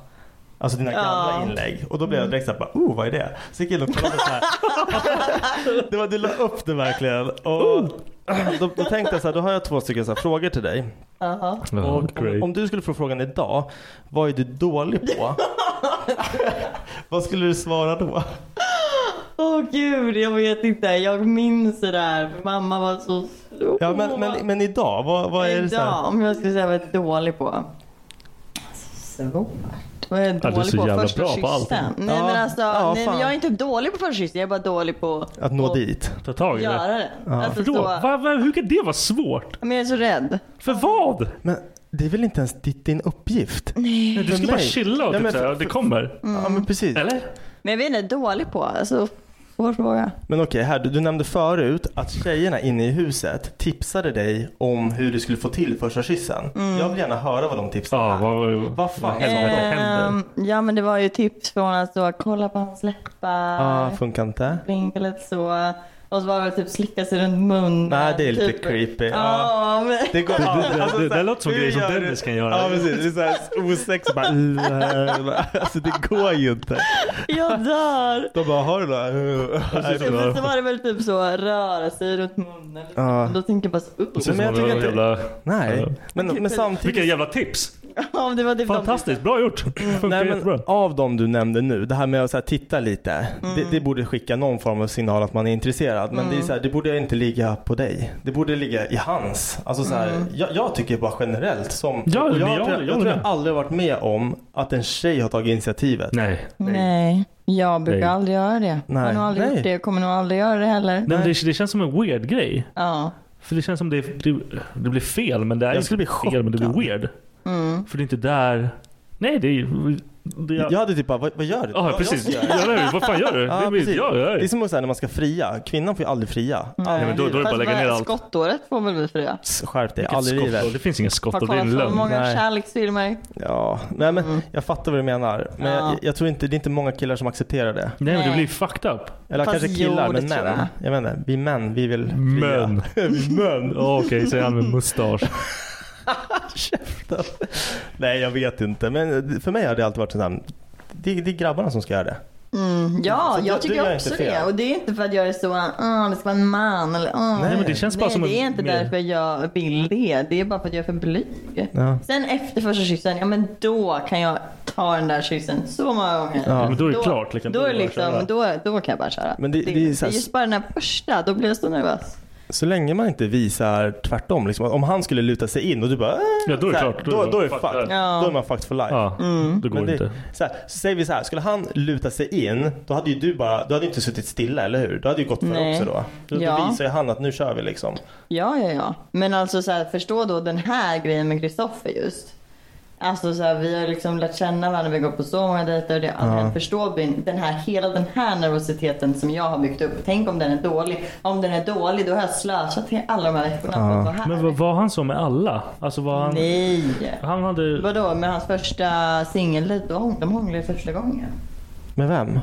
Alltså dina gamla
Ja.
inlägg. Och då blev jag direkt såhär, bara, oh vad är det? Så gick jag in och kollade såhär. det var, du la upp det verkligen. Och då, då tänkte jag såhär, då har jag två stycken så här, frågor till dig.
Jaha.
Ja,
Och om,
great.
om du skulle få frågan idag, vad är du dålig på? vad skulle du svara då?
Åh gud, jag vet inte. Jag minns det där. för Mamma var så stor.
Ja, men, men, men idag, vad, vad är det så här?
Idag, om jag skulle säga vad jag är dålig på. Svårt. Vad är jag
Ja,
dålig
du är så
på?
jävla
första
bra på
kyssen.
allting.
Nej
Ja.
men alltså,
Ja,
nej,
fan.
men jag är inte dålig på första kyssen. Jag är bara dålig på
Att nå
på
dit?
Ta tag i det.
Göra det. Alltså,
Varför då?
så,
Va, va, hur kan det vara svårt?
men jag är så rädd.
För vad?
Men det är väl inte ens ditt, din uppgift? Nej.
Du ska bara chilla och
Ja,
typ
men-
såhär, det kommer.
Ja men precis.
Eller?
Men Mm. jag vet inte, dålig på. Alltså, svår fråga.
Men okej, här, du, du nämnde förut att tjejerna inne i huset tipsade dig om hur du skulle få till första kyssen.
Mm.
Jag vill gärna höra vad de tipsade.
Ja, vad, vad
Vad fan
helvete händer?
Ehm, ja men det var ju tips från att så, kolla på hans läppar.
Ah, funkar inte.
Vinka lite så. Och så var det typ slicka sig runt munnen.
Nej, det är lite
typ.
creepy. Ja.
Ja, men...
Det, går, det,
det- det låter som grejer som Dennis kan göra.
Ja precis, det är såhär osexigt bara "Äh, Alltså det går ju inte.
Jag dör.
De bara, har du
Ja, Men så
några?
var det väl typ så röra sig runt munnen.
Ja.
Då tänker jag bara så upp.
Precis som
Men jag
om det var
tycker att
någon jävla...
Nej, men, men
Vilka
samtidigt.
jävla tips!
Ja, men det var typ de-
Fantastiskt, bra gjort! Funkar
Mm. Nej,
jättebra.
men av de du nämnde nu, det här med att så här, titta lite, det,
Mm.
det borde skicka någon form av signal att man är intresserad. Men det, är så här, det borde inte ligga på dig. Det borde ligga i hans. Alltså, så här,
Mm.
jag, jag tycker bara generellt som...
Ja,
och
men
jag,
jag-
tror, jag,
jag
tror jag
med.
aldrig har varit med om att en tjej har tagit initiativet.
Nej.
Nej, jag brukar
Nej.
aldrig göra det. Jag har
Nej.
nog aldrig
Nej.
gjort det och kommer nog aldrig göra det heller.
Nej, men det, det känns som en weird grej.
Ja.
För det känns som det, det, det blir fel, men det är
Jag
inte
skulle bli
fel, men det blir
chockad. Mm.
weird. För det är inte där... Nej, det är... Det är
Jag hade typ bara, vad, vad gör du?
Ja,
Vad-
precis.
vad gör
Ja,
du?
nej, vad fan gör du?
Ja,
det är mitt,
precis.
ja, ja.
Det är som att säga när man ska fria, kvinnan får ju aldrig fria.
Nej, men då, då är det bara att
Fast
lägga ner
vad-
allt.
skottåret får väl vi fria.
Skärp dig,
Vilket
aldrig i
skottår?
livet.
Det finns inga skott
Har
och det är
kollat
en
så
lögn.
många
Nej.
kärleksfilmer.
Ja, nej, men jag fattar vad du menar. Men
Mm. Ja.
jag, jag tror inte, det är inte många killar som accepterar det.
Nej, men det
Nej.
blir fucked up.
Eller
Fast
kanske
jo,
killar,
det
men
tror
män. Jag vet inte, vi män, vi vill fria.
Män.
vi män.
Ja, Okej, säger han med mustasch.
Nej, jag vet inte. Men för mig har det alltid varit sådär, det, det är grabbarna som ska göra det.
Ja,
Alltså,
Så
jag
du- du
tycker
gör
också
inte fel.
det. Och det är inte för att jag är så, ah, det ska vara en man eller ah.
Nej, men det känns bara
Nej,
som
det är
en-
inte
mer-
därför jag vill det. Det är bara för att jag är för blyg.
Ja.
Sen efter första kyssen, ja men då kan jag ta den där kyssen så många gånger.
Ja, men då är det klart, liksom.
Då,
Då
är
är det bara att
liksom, då, då kan jag bara köra.
Men det-
det,
det är
det,
så här-
är just bara den här första, då blir jag så nervös.
Så länge man inte visar tvärtom. Liksom, att om han skulle luta sig in och du bara... Äh,
Ja, då är det
så här,
klart.
Då, då, är det
fuck
fucked.
där.
Ja.
Då är man fucked for life.
Ja,
Mm.
det går
Men det-
inte.
Så här, så säger vi så här, skulle han luta sig in, då hade ju du bara, du hade ju inte suttit stilla, eller hur? Du hade ju gått för
Nej.
också då. Då, då
Ja.
visar ju han att nu kör vi liksom.
Ja, ja, ja. Men alltså så här, förstå då den här grejen med Kristoffer just. Alltså så här, vi har liksom lärt känna varandra, vi går på så många dejter. Det har
Ja.
ja. Förstå bin- den här, hela den här nervositeten som jag har byggt upp. Tänk om den är dålig. Om den är dålig, då har jag slösat he- alla de här veckorna på att vara här.
Men var, var han så med alla? Alltså var han...
Nej!
Han hade...
Vadå, med hans första singel, då hång- de hånglade ju första gången.
Med vem?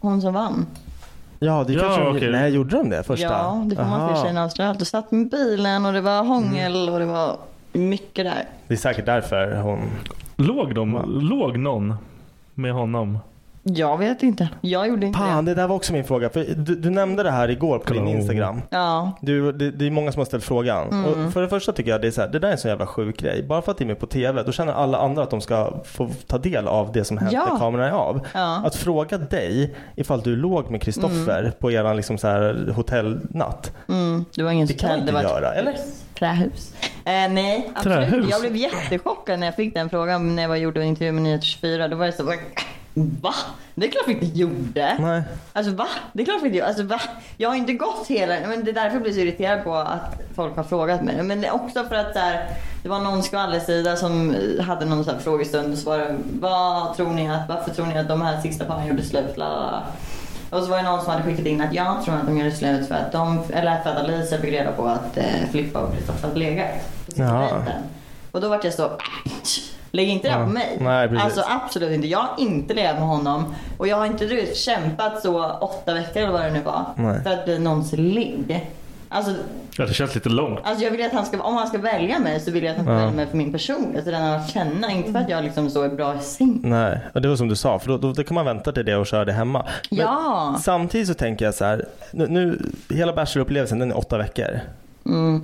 Hon som vann.
Ja, det
Ja,
kanske de,
okej.
Nej, gjorde de det första?
Ja, det får man
Aha. Mm.
för sig när Australien. Du satt med bilen och det var hångel och det var mycket där.
Det är säkert därför hon...
Låg, de, låg någon med honom?
Jag vet inte. Jag gjorde inte
Fan,
det.
det där var också min fråga. För du, du nämnde det här igår på din
Kanon.
Instagram.
Ja, Mm.
Du, det, det är många som har ställt frågan. Och för det första tycker jag det är så här, det där är en så jävla sjuk grej. Bara för att det är med på TV, då känner alla andra att de ska få ta del av det som händer
Ja.
när kameran är av.
Ja.
Att fråga dig ifall du låg med Kristoffer på eran liksom så här hotellnatt.
Mm, det var ingen
Det kan man
hotell,
inte
det var
göra,
ett
eller?
trähus. Eh, nej, absolut.
Trähus?
Jag blev jättechockad när jag fick den frågan när jag var- gjorde en intervju med Nyheter 24. Då var det så bara, va? Det är klart vi inte gjorde.
Nej.
Alltså va? Det är klart vi inte gjorde. Alltså va? Jag har inte gått hela... Men det är därför jag blir så irriterad på att folk har frågat mig. Men det är också för att så här, det var någon skvallersida som hade någon så här frågestund och så var det, vad tror ni att, varför tror ni att de här sista paren gjorde slut? La, la, la. Och så var det någon som hade skickat in att jag tror att de gjorde slut för att de, eller för att Alicia fick reda på att eh, Filippa och Kristoffer hade legat. på sista
Jaha.
dejten. Och då vart jag så, lägg inte det här på mig.
Nej, precis.
alltså absolut inte. Jag har inte legat med honom och jag har inte du vet, kämpat så åtta veckor eller vad det nu var
Nej.
för att bli någons ligg. Alltså,
Ja, det känns lite långt.
alltså jag vill att han ska, om han ska välja mig så vill jag att han ska välja mig för min person. Alltså den han har känna, inte för att jag liksom så är bra i säng.
Nej, och det var som du sa, för då, då, då kan man vänta till det och köra det hemma. Men
Ja.
Samtidigt så tänker jag så här, nu, nu hela Bachelor-upplevelsen den är åtta veckor.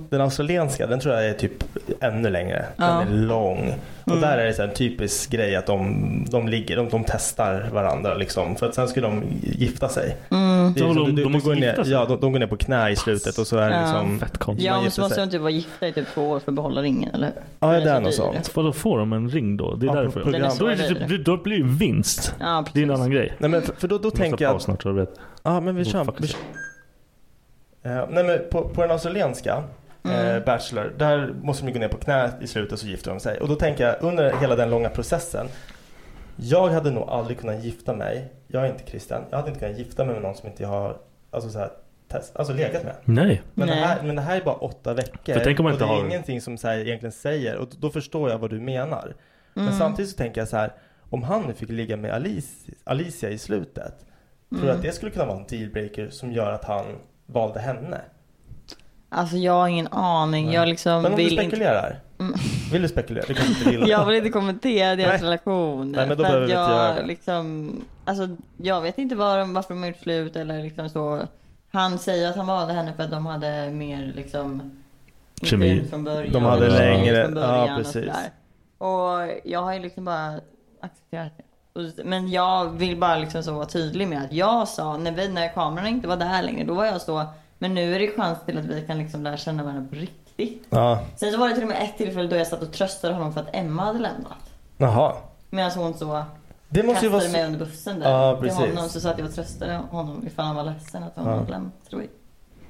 Den australienska den tror jag är typ ännu längre. Den
Ja.
är lång. Och där är det så här en typisk grej att de, de ligger, de, de testar varandra liksom. För att sen ska de gifta sig. Det är
Ja,
liksom,
de- de måste
går ner,
gifta sig.
ja, de, de går ner på knä i slutet och så är det
Ja.
liksom.
Fett konstigt.
Ja,
man
men så
gifter
måste
sig.
de typ vara gifta i typ två år för att behålla ringen, eller hur?
Ja,
Den
det är
så
något
dyr.
sånt.
Vadå får de en ring då? Det är
Ja,
därför.
program.
Den är så
Då, är det
dyr.
typ, då blir det ju vinst.
Ja,
Det är
precis.
en annan grej.
Nej, men för, för då, då
Vi måste
tänker jag
ha
att
paus snart så du vet.
Ja men vi
Oh,
kör.
fuck.
vi kör. Eh, nej men på, på den australienska eh, Bachelor, där måste de gå ner på knä i slutet så gifter de sig. Och då tänker jag under hela den långa processen. Jag hade nog aldrig kunnat gifta mig, jag är inte kristen, jag hade inte kunnat gifta mig med någon som inte jag har alltså, så här, test, alltså legat med.
Nej.
Men det,
Nej.
här, men det här är bara åtta veckor.
För tänk om man
och det
inte
är
har-
ingenting som så här egentligen säger. Och då förstår jag vad du menar.
Mm.
Men samtidigt så tänker jag så här. Om han nu fick ligga med Alice, Alicia i slutet. Tror
Mm.
du att det skulle kunna vara en dealbreaker som gör att han valde henne?
Alltså jag har ingen aning. Jag liksom
Men om
vill
du
inte...
spekulerar. Vill du spekulera? Det kanske inte vill.
Jag vill inte kommentera deras
Nej.
relation.
Nej, men då
för
behöver
att
vi inte göra det.
jag liksom... Alltså jag vet inte var de, varför de har gjort slut eller liksom så. Han säger att han valde henne för att de hade mer liksom... inte
Kemi.
ut Från början,
De hade
eller kemi
längre-
från början
ja,
och
precis.
sådär. Och jag har ju liksom bara accepterat det. Och- Men jag vill bara liksom så vara tydlig med att jag sa, när, vi, när kamerorna inte var där längre, då var jag så, men nu är det chans till att vi kan liksom lära känna varandra på riktigt.
Ja.
Sen så var det till och med ett tillfälle då jag satt och tröstade honom för att Emma hade lämnat.
Jaha.
Medan hon så
Det måste ju vara...
kastade mig
så-
under bussen där.
Ja,
till
precis.
honom så satt jag och tröstade honom ifall han var ledsen att hon
Ja.
hade lämnat. Tror jag.
Du,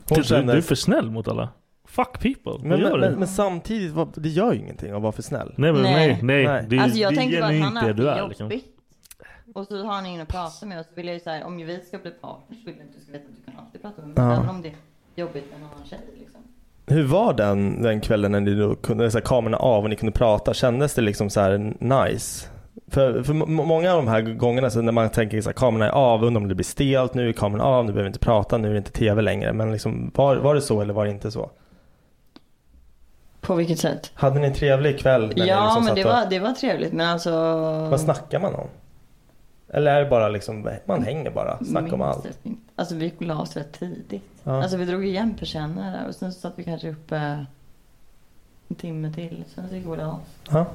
Hon
Typ, du,
känner-
du är för snäll mot alla. Fuck people. Vad
Men,
gör
men,
du?
men, men samtidigt, vad- det gör ju ingenting att vara för snäll.
nej, men, nej, nej.
Nej.
Det, är-
Alltså jag
det
tänkte
är
bara att han
genuint det
hade
du
det
är.
jobbigt.
Liksom.
Och så har han ingen att prata med och så vill jag ju såhär, om vi ska bli partners vill jag att du ska veta att du kan alltid prata med mig.
Ja.
Även om det är jobbigt med en annan tjej liksom.
Hur var den, den kvällen när ni då kunde, så här, kamerorna av och ni kunde prata? Kändes det liksom så här nice? För, för må- många av de här gångerna så när man tänker så här, kamerorna är av, undrar om det blir stelt, nu är kameran av, nu behöver vi inte prata, nu är det inte tv längre. Men liksom, var, var det så eller var det inte så?
På vilket sätt?
Hade ni en trevlig kväll? När ni
ja
liksom
men
satt
det
och-
var, det var trevligt men alltså.
Vad snackar man om? Eller är det bara liksom, man hänger bara, snackar om
Minns
allt?
typ inte. Alltså vi gick och la oss rätt tidigt.
Ja.
Alltså vi drog igen persiennerna där och sen så satt vi kanske eh, uppe en timme till. Sen så gick vi och la oss.
Ja.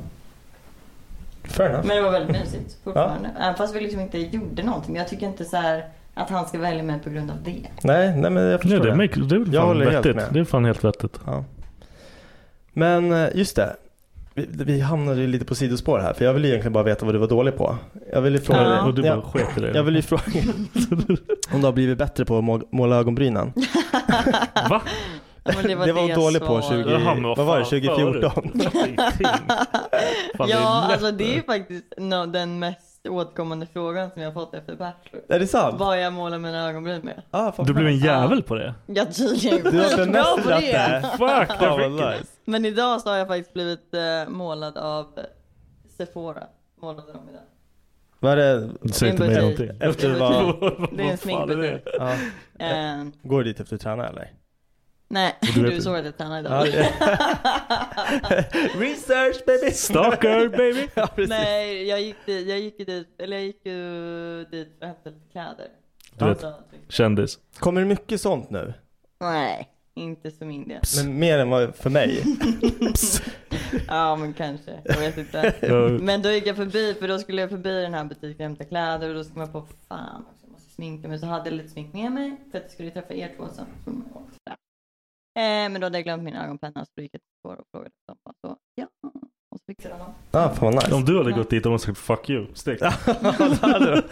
Fair enough.
Men det var väldigt mysigt fortfarande. Även fast vi liksom inte gjorde någonting. Jag tycker inte så här att han ska välja mig på grund av det.
Nej, nej men jag förstår
Nej, det.
det.
Make, det är väl
Jag
fan
håller helt
vettigt.
med.
Det är fan helt vettigt.
Ja. Men eh, just det. Vi, vi hamnade ju lite på sidospår här. För jag ville egentligen bara veta vad du var dålig på. Jag ville fråga
Ja.
dig.
Och du bara
jag,
sket i det.
jag ville ju fråga om du har blivit bättre på att må- måla ögonbrynen.
Va?
Ja, men
Det var hon dålig på
som-
20
Jaha, men
vad var det,
fan,
2014?
förut? Ingenting. Fan, det är
Ja,
lätt.
alltså det är faktiskt no, den mest återkommande frågan som jag har fått efter bachelor.
Är det sant?
Vad jag målar mina ögonbryn med.
Ah, fan.
Du blev en jävel på det.
Jag tydligen
Du har
skitbra på
bemästrat det.
det.
här.
Fuck,
Fan
det
vad
fick
nice.
Men idag så har jag faktiskt blivit eh, målad av Sephora. Målade dem idag.
Vad är det?
Du säger inte
Min
mer
butik.
någonting.
Efter
Det
vad?
betyder- Det är en sminkbutik.
Ja.
Eh,
Går du dit efter att träna eller?
nej,
du
du,
vet-
såg att jag tränade
Ja,
idag.
det- Research baby!
Stalker baby.
Ja, precis.
nej, jag gick, dit, jag gick ju dit, eller jag gick ju dit för att hämta lite kläder. Alltså, typ.
Du vet, kändis.
Kommer det mycket sånt nu?
Nej, inte för min del.
Men mer än vad för mig?
Ja men kanske, jag vet inte.
Jag-
Men då gick jag förbi, för då skulle jag förbi den här butiken och hämta kläder och då kom jag på fan också, jag måste sminka mig. Så hade jag lite smink med mig för att jag skulle träffa er två sen. Eh, men då hade jag glömt min ögonpenna så då gick jag till Sephora och frågade dem. Och Så, ja. Och så fixade de dem.
Ah, fan vad nice.
Om du hade gått dit hade man sagt fuck you. Stick.
Det hade de.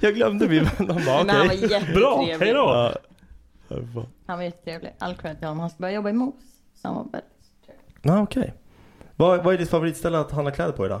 Jag glömde min vän. De bara
Men han var
okej.
Bra,
jättetrevlig.
hejdå.
Ja.
Han var jättetrevlig. All cred till honom. Han skulle börja jobba i Mos. Så han var väldigt trevlig.
Ja, okej. Vad, vad är ditt favoritställe att handla kläder på idag?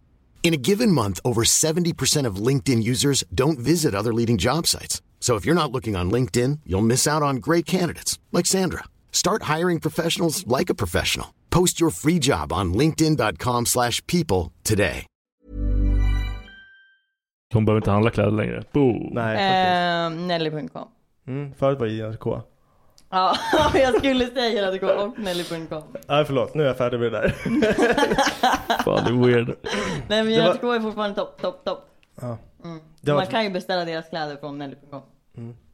In a given month, over 70% of LinkedIn users don't visit other leading job sites. So if you're not looking on LinkedIn, you'll miss out on great candidates like Sandra. Start hiring professionals like a professional. Post your free job on linkedin.com/people slash people today.
Hon behöver inte handla kläder längre. Boom.
Nej, faktiskt.
Eh, Nelly.com.
Mm, förut var det IRK.
Ja, jag skulle säga att det går och Nelly.com.
Nej, förlåt. Nu är jag färdig med det där.
Fan, det är weird.
Nej men
Det var-
jag var... är fortfarande topp, topp, topp.
Ja.
Mm.
Det var- Mm.
Man kan ju beställa deras kläder från Nelly.com.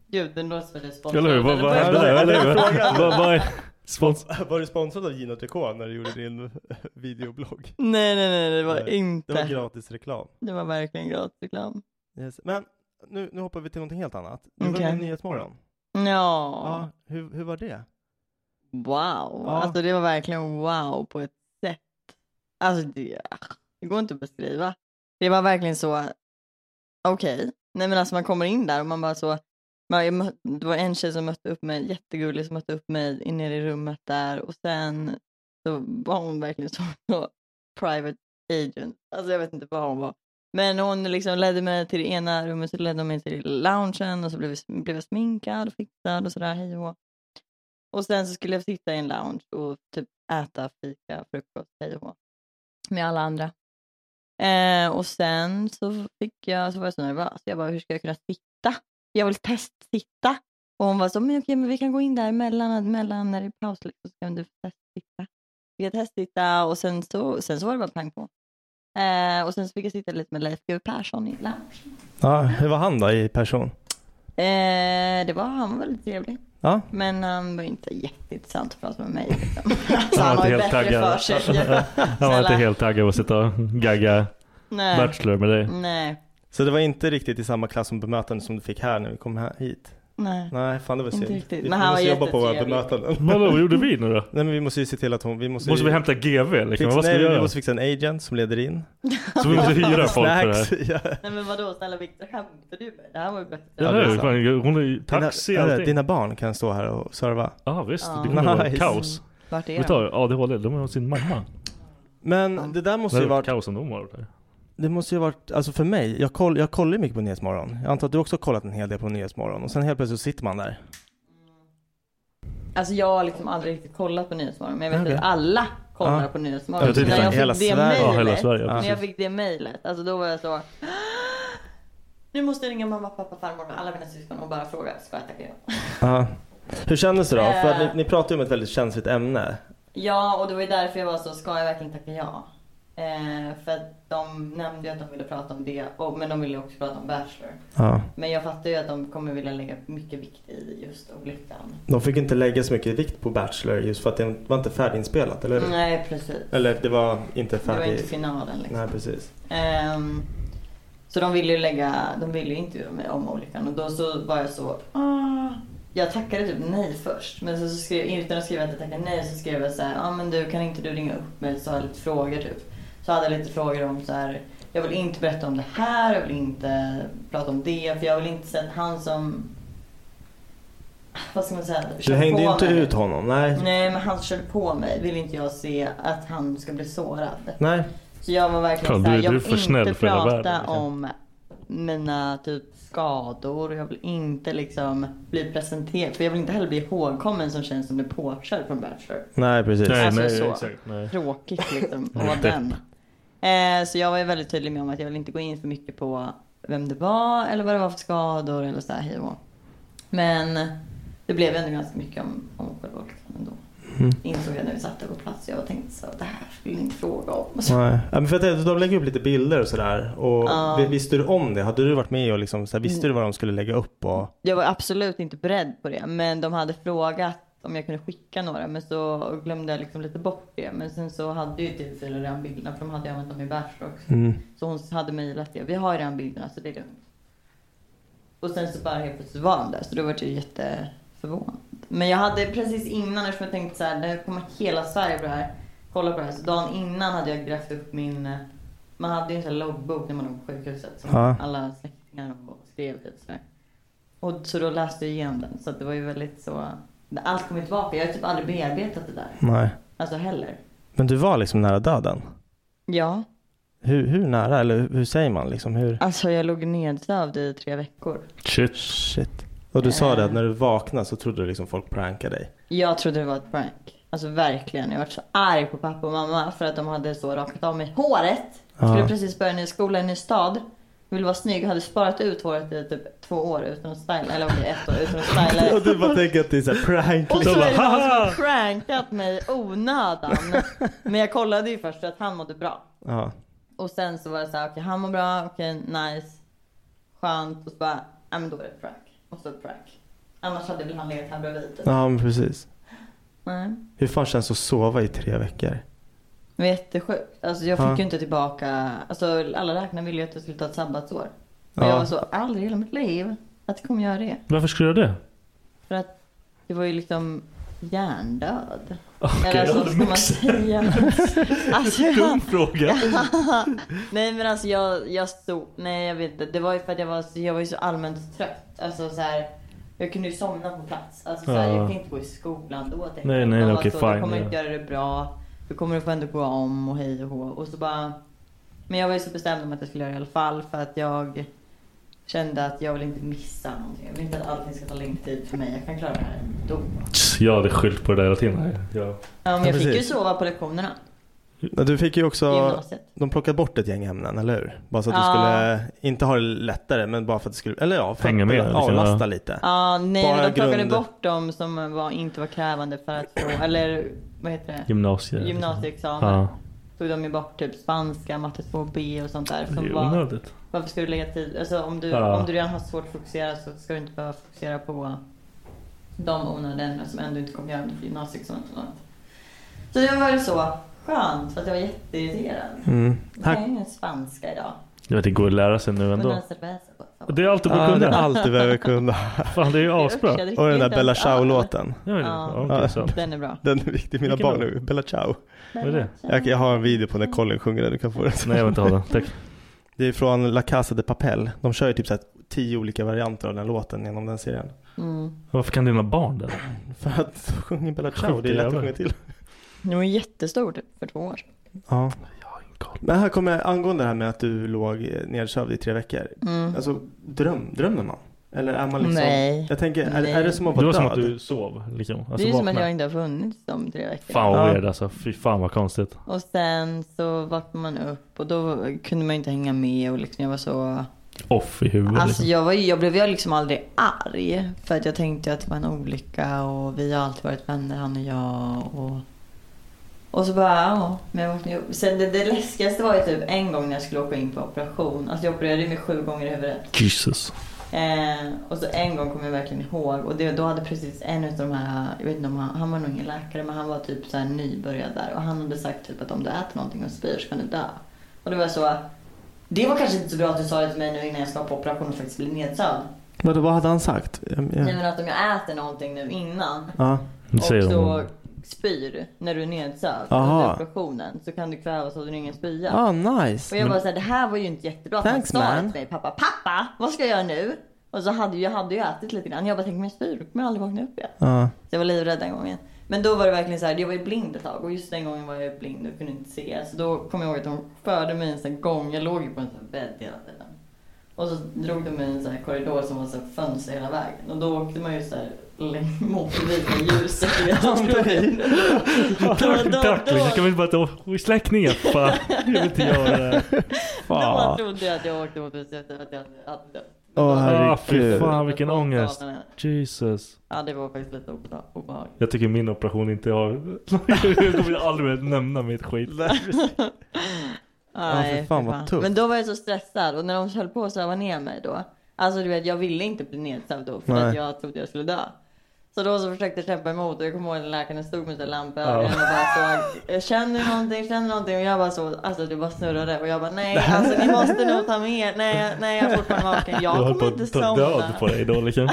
Gud, den låter som att det är sponsrat.
Eller hur? Vad vad
Eller-
hände där? Eller hur?
Frågan.
Vad- Vad är spons?
Var du sponsrad av Gino TK när du gjorde din videoblogg?
Nej, nej, nej, det var
Nej,
inte.
Det var gratis reklam.
verkligen gratisreklam.
Yes. Men nu, nu hoppar vi till någonting helt annat. Du var
Okej.
med i Nyhetsmorgon.
Ja.
Ja, hur, hur var det?
Wow.
Ja.
Alltså det var verkligen wow på ett sätt. Alltså det, det går inte att beskriva. Det var verkligen så, okej. Nej men alltså man kommer in där och man bara så, man, jag mö- det var en tjej som mötte upp mig, jättegullig som mötte upp mig in nere i rummet där och sen så var hon verkligen så, så private agent. Alltså jag vet inte vad hon var. Men hon liksom ledde mig till det ena rummet, så ledde hon mig till loungen och så blev, vi- blev jag sminkad och fixad och sådär, hej och hå. Och sen så skulle jag sitta i en lounge och typ äta fika, frukost, hej och hå, Med alla andra. Eh, och sen så fick jag, så var jag så nervös. Jag bara, hur ska jag kunna sitta? Jag vill testsitta. Och hon var så, men okej, men vi kan gå in där mellan, mellan när det är paus liksom, så kan du testsitta. Fick jag testsitta och sen så, sen så var det bara pang på. Eh, och sen så fick jag sitta lite med Leif GW Persson i lounge.
Ja, hur var han då i person?
Eh, det var, han var väldigt trevlig.
Ja,
Men han var inte jätteintressant att prata med mig. Liksom. Alltså,
var
han var
inte
ju
helt
bättre för
taggad.
sig.
Han var inte
Snälla.
helt taggad på att sitta och gagga
Nej.
Bachelor med dig.
Nej.
så det var inte riktigt i samma klass som bemötande som du fick här när vi kom här hit?
Nej.
Nej, fan det var
Inte
synd.
riktigt.
Vi
Men han
måste
var
jobba på våra
jättetrevlig.
bemötanden.
Vadå, vad gjorde vi nu då?
Nej men vi måste ju se till att hon, vi måste,
Måste
ju
vi hämta GV liksom?
fixa,
Vad ska
nej,
vi
vi
göra?
måste fixa en agent som leder in.
Så vi måste hyra folk för det här.
Snacks. Ja.
Nej men vadå snälla Viktor, skämtar du med Det här var ju bättre. Alltså,
Ja,
det är
det är
sant.
fan- Hon är ju taxi och
dina,
allting.
dina barn kan stå här och serva.
Ja visst,
Ja.
det kommer vara
Nice.
kaos.
Vart är
Vi tar ADHD, de är hos sin mamma.
Men det där måste
Det
ju
var
varit...
kaos om de var där.
Det måste ju ha varit, alltså för mig, jag, koll, jag kollar ju mycket på Nyhetsmorgon. Jag antar att du också har kollat en hel del på Nyhetsmorgon. Och sen helt plötsligt så sitter man där.
Alltså jag har liksom aldrig riktigt kollat på Nyhetsmorgon, men jag vet
Okej.
att alla kollar
Ja.
på Nyhetsmorgon.
Ja, typ
när jag
hela
fick det
Sverige.
mejlet,
Ja, hela Sverige, ja,
när jag
precis.
fick det mejlet, alltså då var jag så Nu måste jag ringa mamma, pappa, farmor och alla mina syskon och bara fråga, ska jag tacka ja?
Ja. Hur kändes det då? För att
Eh.
ni, ni pratar ju om ett väldigt känsligt ämne.
Ja, och det var ju därför jag var så, ska jag verkligen tacka ja? Eh, för att de nämnde ju att de ville prata om det, och, men de ville också prata om Bachelor.
Ja.
Men jag fattar ju att de kommer vilja lägga mycket vikt i just olyckan.
De fick inte lägga så mycket vikt på Bachelor just för att det var inte färdiginspelat, eller hur?
Nej, precis.
Eller det var inte
Det var
färdig...
inte finalen liksom.
Nej, precis.
Ehm, så de ville ju lägga, de ville ju intervjua mig om olyckan och då så var jag så, ah. jag tackade typ nej först. Men sen så skrev, utan att skriva att jag tackade nej så skrev jag så här, ah, men du kan inte du ringa upp mig så har jag lite frågor typ. Så hade jag lite frågor om så här, jag vill inte berätta om det här, jag vill inte prata om det för jag vill inte se att han som, vad ska man säga,
Du
kör
hängde ju
på
inte
mig.
ut honom, nej.
Nej men han körde på mig vill inte jag se att han ska bli sårad.
Nej.
Så jag var verkligen
Ja,
såhär,
du-
jag
du är
vill
för snäll
inte
för hela
prata
världen, liksom.
om mina typ skador. Jag vill inte liksom bli presenterad. För jag vill inte heller bli ihågkommen som känns som blir påkörd från Bachelor.
Nej, precis.
Nej,
alltså
nej,
så
exakt, nej.
tråkigt liksom.
Nej.
Och vara den. Eh, så jag var ju väldigt tydlig med om att jag vill inte gå in för mycket på vem det var eller vad det var för skador eller sådär hej och hå. Men det blev ändå ganska mycket om, om själva olyckan ändå.
Mm.
Insåg jag när vi satt där på plats. Jag tänkte så det här skulle ni inte fråga om.
Nej. Ja, men för att de lägger upp lite bilder och sådär. Och
Ja. Mm.
vi- visste du om det? Hade du varit med och liksom, så här, visste du vad de skulle lägga upp? Och...
Jag var absolut inte beredd på det, men de hade frågat om jag kunde skicka några, men så glömde jag liksom lite bort det. Men sen så hade ju TV4 redan bilderna, för de hade ju använt dem i Bachelor också.
Mm.
Så hon hade mejlat det. Vi har ju redan bilderna, så det är lugnt. Och sen så bara helt plötsligt var de där, så då var jag ju jätteförvånad. Men jag hade precis innan, eftersom jag tänkte så här, det här kommer hela Sverige på det här, kolla på det här. Så dagen innan hade jag grävt upp min, eh, man hade ju en sån här loggbok när man låg på sjukhuset som
Ja.
alla släktingar och skrev i och sådär. Och så då läste jag igenom den, så att det var ju väldigt så, allt kom ju tillbaka. Jag har typ aldrig bearbetat det där.
Nej.
Alltså heller.
Men du var liksom nära döden?
Ja.
Hur, hur nära? Eller hur, hur säger man? Liksom, hur...
Alltså jag låg nedsövd i tre veckor.
Shit. Shit. Och du sa det att när du vaknade så trodde du liksom folk prankade dig.
Jag trodde det var ett prank. Alltså verkligen. Jag var så arg på pappa och mamma för att de hade så rakat av mig håret. Jag skulle
Ja.
precis börja en ny skola i en ny stad. Jag ville vara snygg. Jag hade sparat ut håret i typ två år utan att styla. Eller okej, ett år utan att styla. det.
och du bara tänker att det är så här prank.
Och så
liksom.
är det någon som prankat mig onödan. Men jag kollade ju först så att han mådde bra.
Ja.
Och sen så var det så här, okej han mår bra, okej nice, skönt. Och så bara, ja men då är det ett prank. Och så ett prank. Annars hade väl han legat här bredvid. typ.
ja, men precis.
Nej.
Hur fan känns det att sova i tre veckor?
Det var jättesjukt. Alltså jag fick
Ja.
ju inte tillbaka, alltså alla läkarna ville ju att jag skulle ta ett sabbatsår. Och jag
Ja.
var så, aldrig i hela mitt liv att jag kommer göra det.
Varför skulle du göra det?
För att det var ju liksom hjärndöd.
Okej,
Eller
ja,
så
det
ska man
mixar.
säga. alltså,
Dum fråga.
nej men alltså jag, jag stod, nej jag vet inte. Det var ju för att jag var, så- jag var ju så allmänt trött. Alltså så här, jag kunde ju somna på plats. Alltså så här,
Ja.
jag kan inte gå i skolan då. tänkte
Nej,
jag.
nej,
De var
okej,
så, Du
fine,
kommer
ja.
inte göra det bra. Du kommer att få ändå gå om och hej och hå. Och så bara, men jag var ju så bestämd om att jag skulle göra det i alla fall. För att jag kände att jag vill inte missa någonting. Jag vill inte att allting ska ta längre tid för mig. Jag kan klara det här ändå.
Jag hade skyllt på det där hela tiden. Ja.
Ja, men jag fick ju
precis.
sova på lektionerna.
Ja, Du fick ju också,
Gymnasiet.
de plockade bort ett gäng ämnen, eller hur? Bara så att du
Ja.
skulle, inte ha det lättare, men bara för att du skulle, eller ja, för
Hänga
att
med,
kunna
liksom, ja.
avlasta lite.
Ja, nej
Bara
men de plockade
grund-
bort de som var, inte var krävande för att få, eller vad heter det?
Gymnasie.
Gymnasieexamen.
Ja.
Tog de ju bort typ spanska, matte 2B och sånt där.
Det är ju
Som var,
onödigt.
varför ska du lägga tid? Alltså om du,
Ja.
om du redan har svårt att fokusera så ska du inte behöva fokusera på de onödiga ämnen som ändå inte kommer göra under gymnasieexamen. och sånt. Så det var väl så skönt för att jag var jätteirriterad.
Mm.
Jag kan ju ingen spanska idag.
Jag vet, det går att lära sig nu
Men
ändå.
den cerveza på.
Det är allt du behöver
Ja, det
kunna.
är allt du behöver kunna.
Fan, det är ju asbra.
Jag dricker
Och den där
inte
Bella
ens öl.
Ciao-låten.
Ja, det- ja, okej, så.
Den är bra.
Den är viktig, mina
Vilken
barn
då?
nu. Bella Ciao.
Vad är det?
Jag, jag har en video på när Colin sjunger den, du kan få den.
Nej, jag vill inte ha den. Tack.
Det är från La Casa de Papel. De kör ju typ så här tio olika varianter av den låten genom den serien.
Mm.
Varför kan dina barn det?
För att de sjunger Bella Ciao,
Sjukt
det är lätt att
jävlar.
sjunga till.
Den var jättestor typ, för två år sedan.
Ja. Men här kommer angående det här med att du låg nedsövd i tre veckor.
Mm.
Alltså dröm, drömde man? Eller är man liksom?
Nej.
Jag tänker, är,
Nej.
är det som att vara
Det var
död?
som att du sov. Liksom. Alltså,
det är ju som att
vaknade.
jag inte har funnits de tre veckorna.
Fan vad weird alltså. Fy fan vad konstigt.
Och sen så vaknade man upp och då kunde man inte hänga med och liksom jag var så...
Off i huvudet.
Alltså
liksom.
jag, var, ju- jag blev ju liksom aldrig arg. För att jag tänkte att det var en olycka och vi har alltid varit vänner han och jag. Och, och så bara ja. Men jag vaknade upp. Sen det, det läskigaste var ju typ en gång när jag skulle åka in på operation. Alltså jag opererade mig sju gånger i huvudet.
Jesus.
Eh, och så en gång kommer jag verkligen ihåg och det, då hade precis en av de här, jag vet inte om han, han var nog ingen läkare men han var typ så här nybörjad där och han hade sagt typ att om du äter någonting och spyr så kan du dö. Och det var så, det var kanske inte så bra att du sa det till mig nu innan jag ska på operation och faktiskt bli nedsövd.
Vad, vad hade han sagt? Jag- jag-
Nej men att om jag äter någonting nu innan
Ja.
Det säger
och så
hon.
spyr när du är nedsövd
Aha.
under operationen så kan du kvävas av din egen spya.
Ah, nice.
Och jag bara
Men-
såhär, det här var ju inte jättebra att
Thanks,
han sa det
man.
till mig. Pappa, pappa, vad ska jag göra nu? Och så hade ju- jag hade ju ätit lite grann. Jag bara, tänk om jag spyr, då kommer jag aldrig vakna upp igen.
Ja.
Så jag var livrädd den gången. Men då var det verkligen så här, jag var ju blind ett tag och just den gången var jag ju blind och kunde inte se. Så då kom jag ihåg att de förde mig en sån här gång, jag låg ju på en sån här bädd hela tiden. Och så drog de mig i en sån här korridor som var så här fönster hela vägen. Och då åkte man ju så här längs mot det vita ljuset. du vet. då-
Tack,
då-
vi kan väl bara ta och släck ner. Fan, jag vill inte göra det.
Då
Fan.
trodde jag att jag åkte mot huset att jag hade dött.
Åh
herregud.
Ah, fy fan vilken ångest.
Dagarna.
Jesus.
Ja, det var faktiskt lite obe- obehagligt.
Jag tycker min operation inte har... jag kommer aldrig mer nämna mitt skit.
Nej,
för fan, vad tufft.
Men då var jag så stressad och när de höll på att söva ner mig då. Alltså du vet, jag ville inte bli nedsövd då för
Nej.
att jag trodde jag skulle dö. Så då så försökte jag kämpa emot och jag kommer ihåg när läkaren stod med sin lampa i
Ja.
ögonen och bara såg, jag känner någonting, känner någonting och jag bara så, alltså det bara snurrade och jag bara nej, alltså ni måste nog ta med, nej, nej jag är fortfarande vaken, jag
höll
kommer
på
inte
att ta död
somna.
på dig då liksom.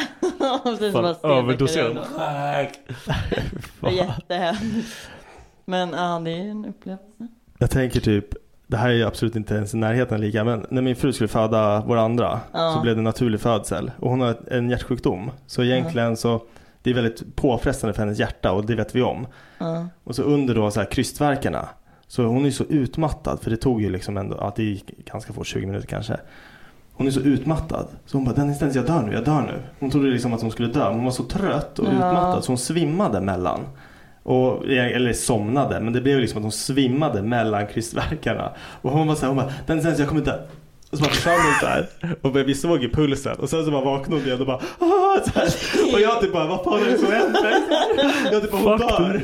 Och sen så bara
Fan,
stekade jag
överdoserad.
då. Det var jättehemskt. Men ja, det är ju en upplevelse.
Jag tänker typ, det här är ju absolut inte ens i närheten lika, men när min fru skulle föda vår andra
Ja.
så blev det naturlig födsel. Och hon har en hjärtsjukdom. Så egentligen så, det är väldigt påfrestande för hennes hjärta och det vet vi om.
Ja.
Och så under då så här krystverkarna. Så hon är så utmattad, för det tog ju liksom ändå, att det gick ganska fort, 20 minuter kanske. Hon är så utmattad. Så hon bara, den instans, jag dör nu, jag dör nu. Hon trodde liksom att hon skulle dö. men Hon var så trött och
Ja.
utmattad så hon svimmade mellan. Och, eller somnade, men det blev ju liksom att hon svimmade mellan krystverkarna. Och hon var så här, hon bara, den instans, jag kommer dö. Och så bara försvann hon så här. Och vi såg ju pulsen. Och sen så bara vaknade hon igen och bara, "Ah", så här. Och jag typ bara, vad fan är det som händer? Jag typ bara, hon
Fuck.
dör.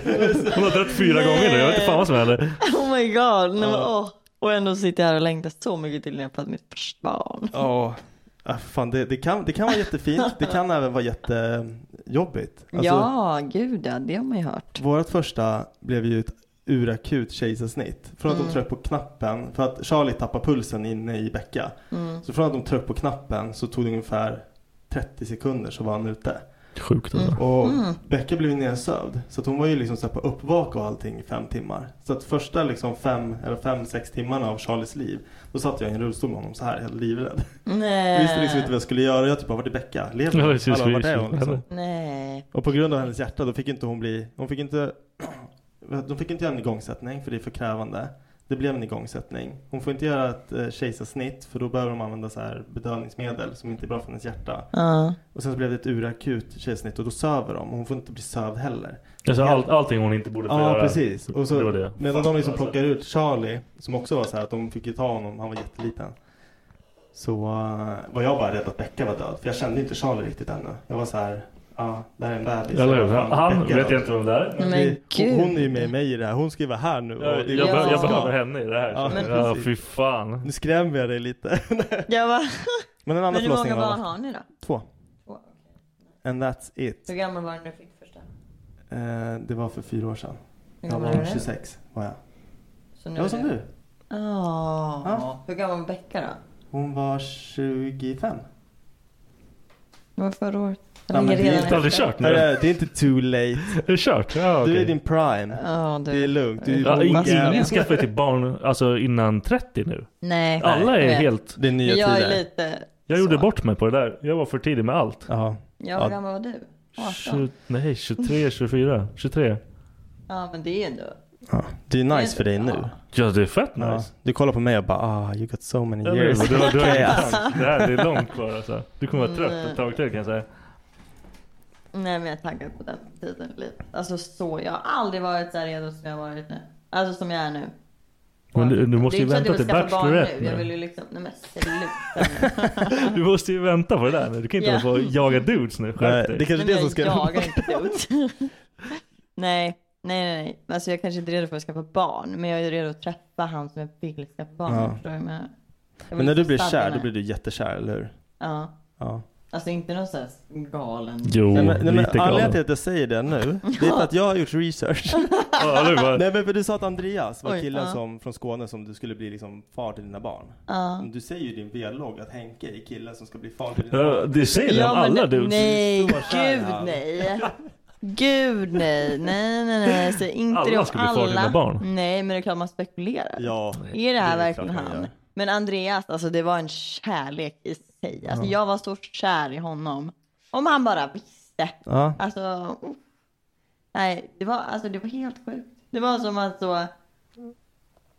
Hon har dött fyra gånger nu. Jag vet inte fan vad som händer.
Oh my god. Nej, men, åh. Och ändå sitter jag här och längtar så mycket till när jag föder mitt första barn.
Ja, ah, fan det, det, kan, det kan vara jättefint. Det kan även vara jättejobbigt. Alltså,
ja, gud ja, det har man ju hört.
Vårt första blev ju ett urakut kejsarsnitt. Från att
Mm.
de tryckte på knappen, för att Charlie tappade pulsen inne i Becka.
Mm.
Så från att de tryckte på knappen så tog det ungefär 30 sekunder så var han ute.
Sjukt alltså.
Och
Mm.
Becka blev ju nedsövd. Så att hon var ju liksom så här på uppvak och allting i fem timmar. Så att första liksom fem, eller fem, sex timmarna av Charlies liv. Då satt jag i en rullstol med honom så här, helt livrädd. Jag
Nej.
visste liksom inte vad jag skulle göra. Jag typ bara, vart är Becka? Lever
Ja,
hon?
precis,
Alla, vart
precis.
är hon? Liksom.
Nej.
Och på grund av hennes hjärta då fick inte hon bli, hon fick inte, de fick inte göra en igångsättning för det är för krävande. Det blev en igångsättning. Hon får inte göra ett eh, kejsarsnitt för då behöver de använda så här bedövningsmedel som inte är bra för hennes hjärta.
Ja.
Och sen så blev det ett urakut kejsarsnitt och då söver de och hon får inte bli sövd heller.
Alltså all, allting hon inte borde få
Ja
göra.
precis. Och
det
så,
var det.
medan de liksom
Alltså.
plockar ut Charlie, som också var så här att de fick ju ta honom, han var jätteliten. Så eh, var jag bara rädd att Becka var död, för jag kände inte Charlie riktigt ännu. Jag var så här, ja, det här är en bebis.
Eller hur?
Vad fan,
Han
Becka
vet
då?
jag inte vem det är.
Men
Det-
gud.
hon, hon är ju med mig i det här, hon ska ju vara här nu. och
Jag,
det är ju-
jag, be- jag
Ja.
behöver henne i det här.
Ja,
Ja,
men precis.
fy fan.
Nu skrämmer jag dig lite.
Jag bara,
Men en annan
men hur
förlossning
många
var
barn har ni då?
två. And that's it.
Hur gammal var du när du fick första?
Eh, det var för fyra år sedan.
Hur
Jag
gammal är
var
du?
26 var jag.
Så nu
Jag var som du.
Ja.
Ja.
Hur gammal var Becka då?
Hon var 25.
Det var förra året. Jag
Ja, men
ligger
det är
redan
inte
aldrig
efter.
kört nu.
Hörru, det är inte too late.
Är det kört? Ja,
Du är i
okej.
din prime.
Ja, du.
Det är lugnt. Du är
Ja,
mogen.
ingen, ingen skaffar till barn alltså, innan 30 nu.
Nej.
Alla
jag
är
vet.
helt...
Det är nya
Men jag är
tider.
lite...
Jag gjorde bort mig på det där. Jag var för tidig med allt.
Ja.
Ja, hur gammal var du? 18?
Tju- nej, 23, 24, 23.
Ja, men det är ju ändå...
Ja. Det är nice för dig nu.
Ja, det är fett nice.
Du kollar på mig och bara ah, you got so many
Ja, men
years.
du har- du har
Okay.
inte
alltså.
chans. Det här, det är långt kvar alltså. Du kommer vara trött ett tag till kan jag säga.
Nej men jag är taggad på den tiden lite. Alltså så, jag har aldrig varit så här redo som jag har varit nu. Alltså som jag är nu.
Men du, du
det
måste
är
ju
inte så att
vänta
jag vill
till
skaffa barn
Bachelorette
nu. Jag vill
nu.
ju liksom, nej men sluta.
Du måste ju vänta på det där nu. Du kan inte
Ja.
hålla på och jaga dudes nu.
Nej,
Skärp dig.
det är kanske är det som ska...
Jag jagar inte ut. nej, nej, nej, nej. Alltså jag är kanske inte är redo för att skaffa barn. Men jag är redo att träffa han som jag vill skaffa barn med. Förstår du
Ja.
vad jag menar? Jag vill
Men när du
liksom
blir
stadda
kär,
mig.
då blir du jättekär, eller hur?
Oh,
Ja.
Ja.
Alltså inte någon sån här galen.
nej, men, nej, men
lite galen.
Anledningen till att jag säger det nu, det är för att jag har gjort research. nej men för du sa att Andreas var
Oj,
killen
ja.
som, från Skåne som du skulle bli liksom far till dina barn.
Ja.
Men Du säger ju i din vlogg att Henke är killen som ska bli far till dina
Ja,
barn.
det säger det om
men
alla
det-
dudes.
Nej,
Så kär
gud
han.
nej. Gud nej, nej nej nej. Säg inte det
Alla
om
ska bli far
alla.
till dina barn.
Nej men det är klart man spekulerar.
Ja.
Är det här
Det är
verkligen
klart man
han?
gör.
Men Andreas, alltså det var en kärlek i sig. Alltså,
Ja.
Jag var så kär i honom. Om han bara visste.
Ja.
Alltså, oh. nej, det var, alltså, det var helt sjukt. Det var som att så...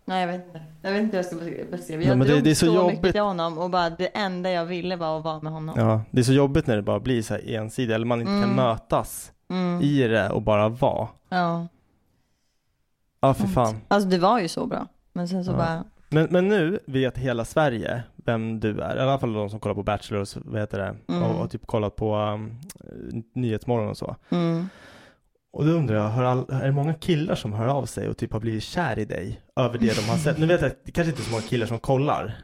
Nej, jag vet inte. Jag vet inte hur jag ska beskriva.
Nej,
Jag
men det-
drog
det är så
mycket
jobbigt.
till honom och bara det enda jag ville var att vara med honom.
Ja, det är så jobbigt när det bara blir så här ensidigt, eller man inte
Mm.
kan mötas
Mm.
i det och bara vara.
Ja.
Ja, för fan.
Alltså det var ju så bra. Men sen så
Ja.
bara,
Men, men nu vet hela Sverige vem du är. I alla fall de som kollar på Bachelor och så, vad heter det?
Mm.
Och, och typ kollat på um, eh, Nyhetsmorgon och så.
mm.
Och då undrar jag, hör all, är det många killar som hör av sig och typ har blivit kär i dig över det de har sett? Nu vet jag att det kanske inte är så många killar som kollar.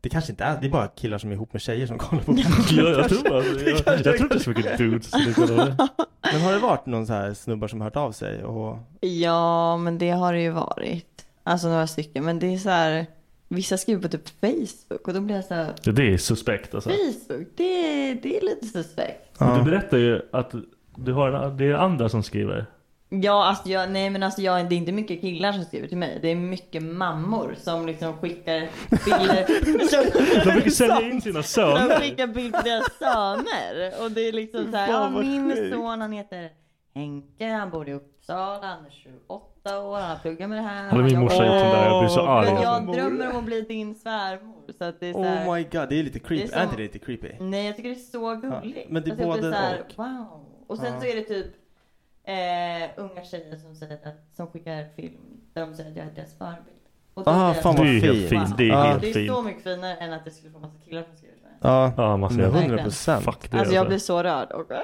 Det kanske inte är, det är bara killar som är ihop med tjejer som kollar på
Jag,
Bachelor.
jag tror alltså, jag, jag tror inte så mycket dudes. liksom. som kollar på det.
Men har det varit någon så här snubbar som hört av sig? Och,
Ja, men det har det ju varit. Alltså några stycken. Men det är så här, vissa skriver på typ Facebook och då blir jag så här,
Det- Det är suspekt alltså.
Facebook, det, det är lite suspekt.
Men Du berättar ju att du har en, det är andra som skriver.
Ja, alltså jag, nej men alltså jag, det är inte mycket killar som skriver till mig. Det är mycket mammor som liksom skickar bilder. som,
De brukar sälja in sina
De
söner.
skickar bilder på deras söner. Och det är liksom så här,
Fan,
ja,
vad
min
sjukt."
son han heter Henke, han bor i Uppsala, han är 28 år, han pluggar med det här.
Hade min
jobbar
morsa gjort
med
den
det
där,
här."
jag blir så arg.
Men jag
alltså.
drömmer om att bli din svärmor. Så att det är så här,
oh my god, det är lite creepy.
Det
Är,
är som-
inte det lite creepy?
Nej, jag tycker det är så gulligt.
Ja, men det är
Alltså, jag blir
både
så här,
och.
Wow. Och sen
Ja.
så är det typ eh, unga tjejer som, säger att, som skickar film där de säger att jag är deras förebild. Och då
Ah,
blir jag
fan
så
vad
Det är
fint.
helt fint, det är
Ja.
helt
Det är så
fint.
mycket finare än att det skulle få massa killar som skriver till mig.
Ja,
Ja, man säger
men
Mm, verkligen.
100 procent.
Fuck det
Alltså jag blir
alltså.
så rörd och ah,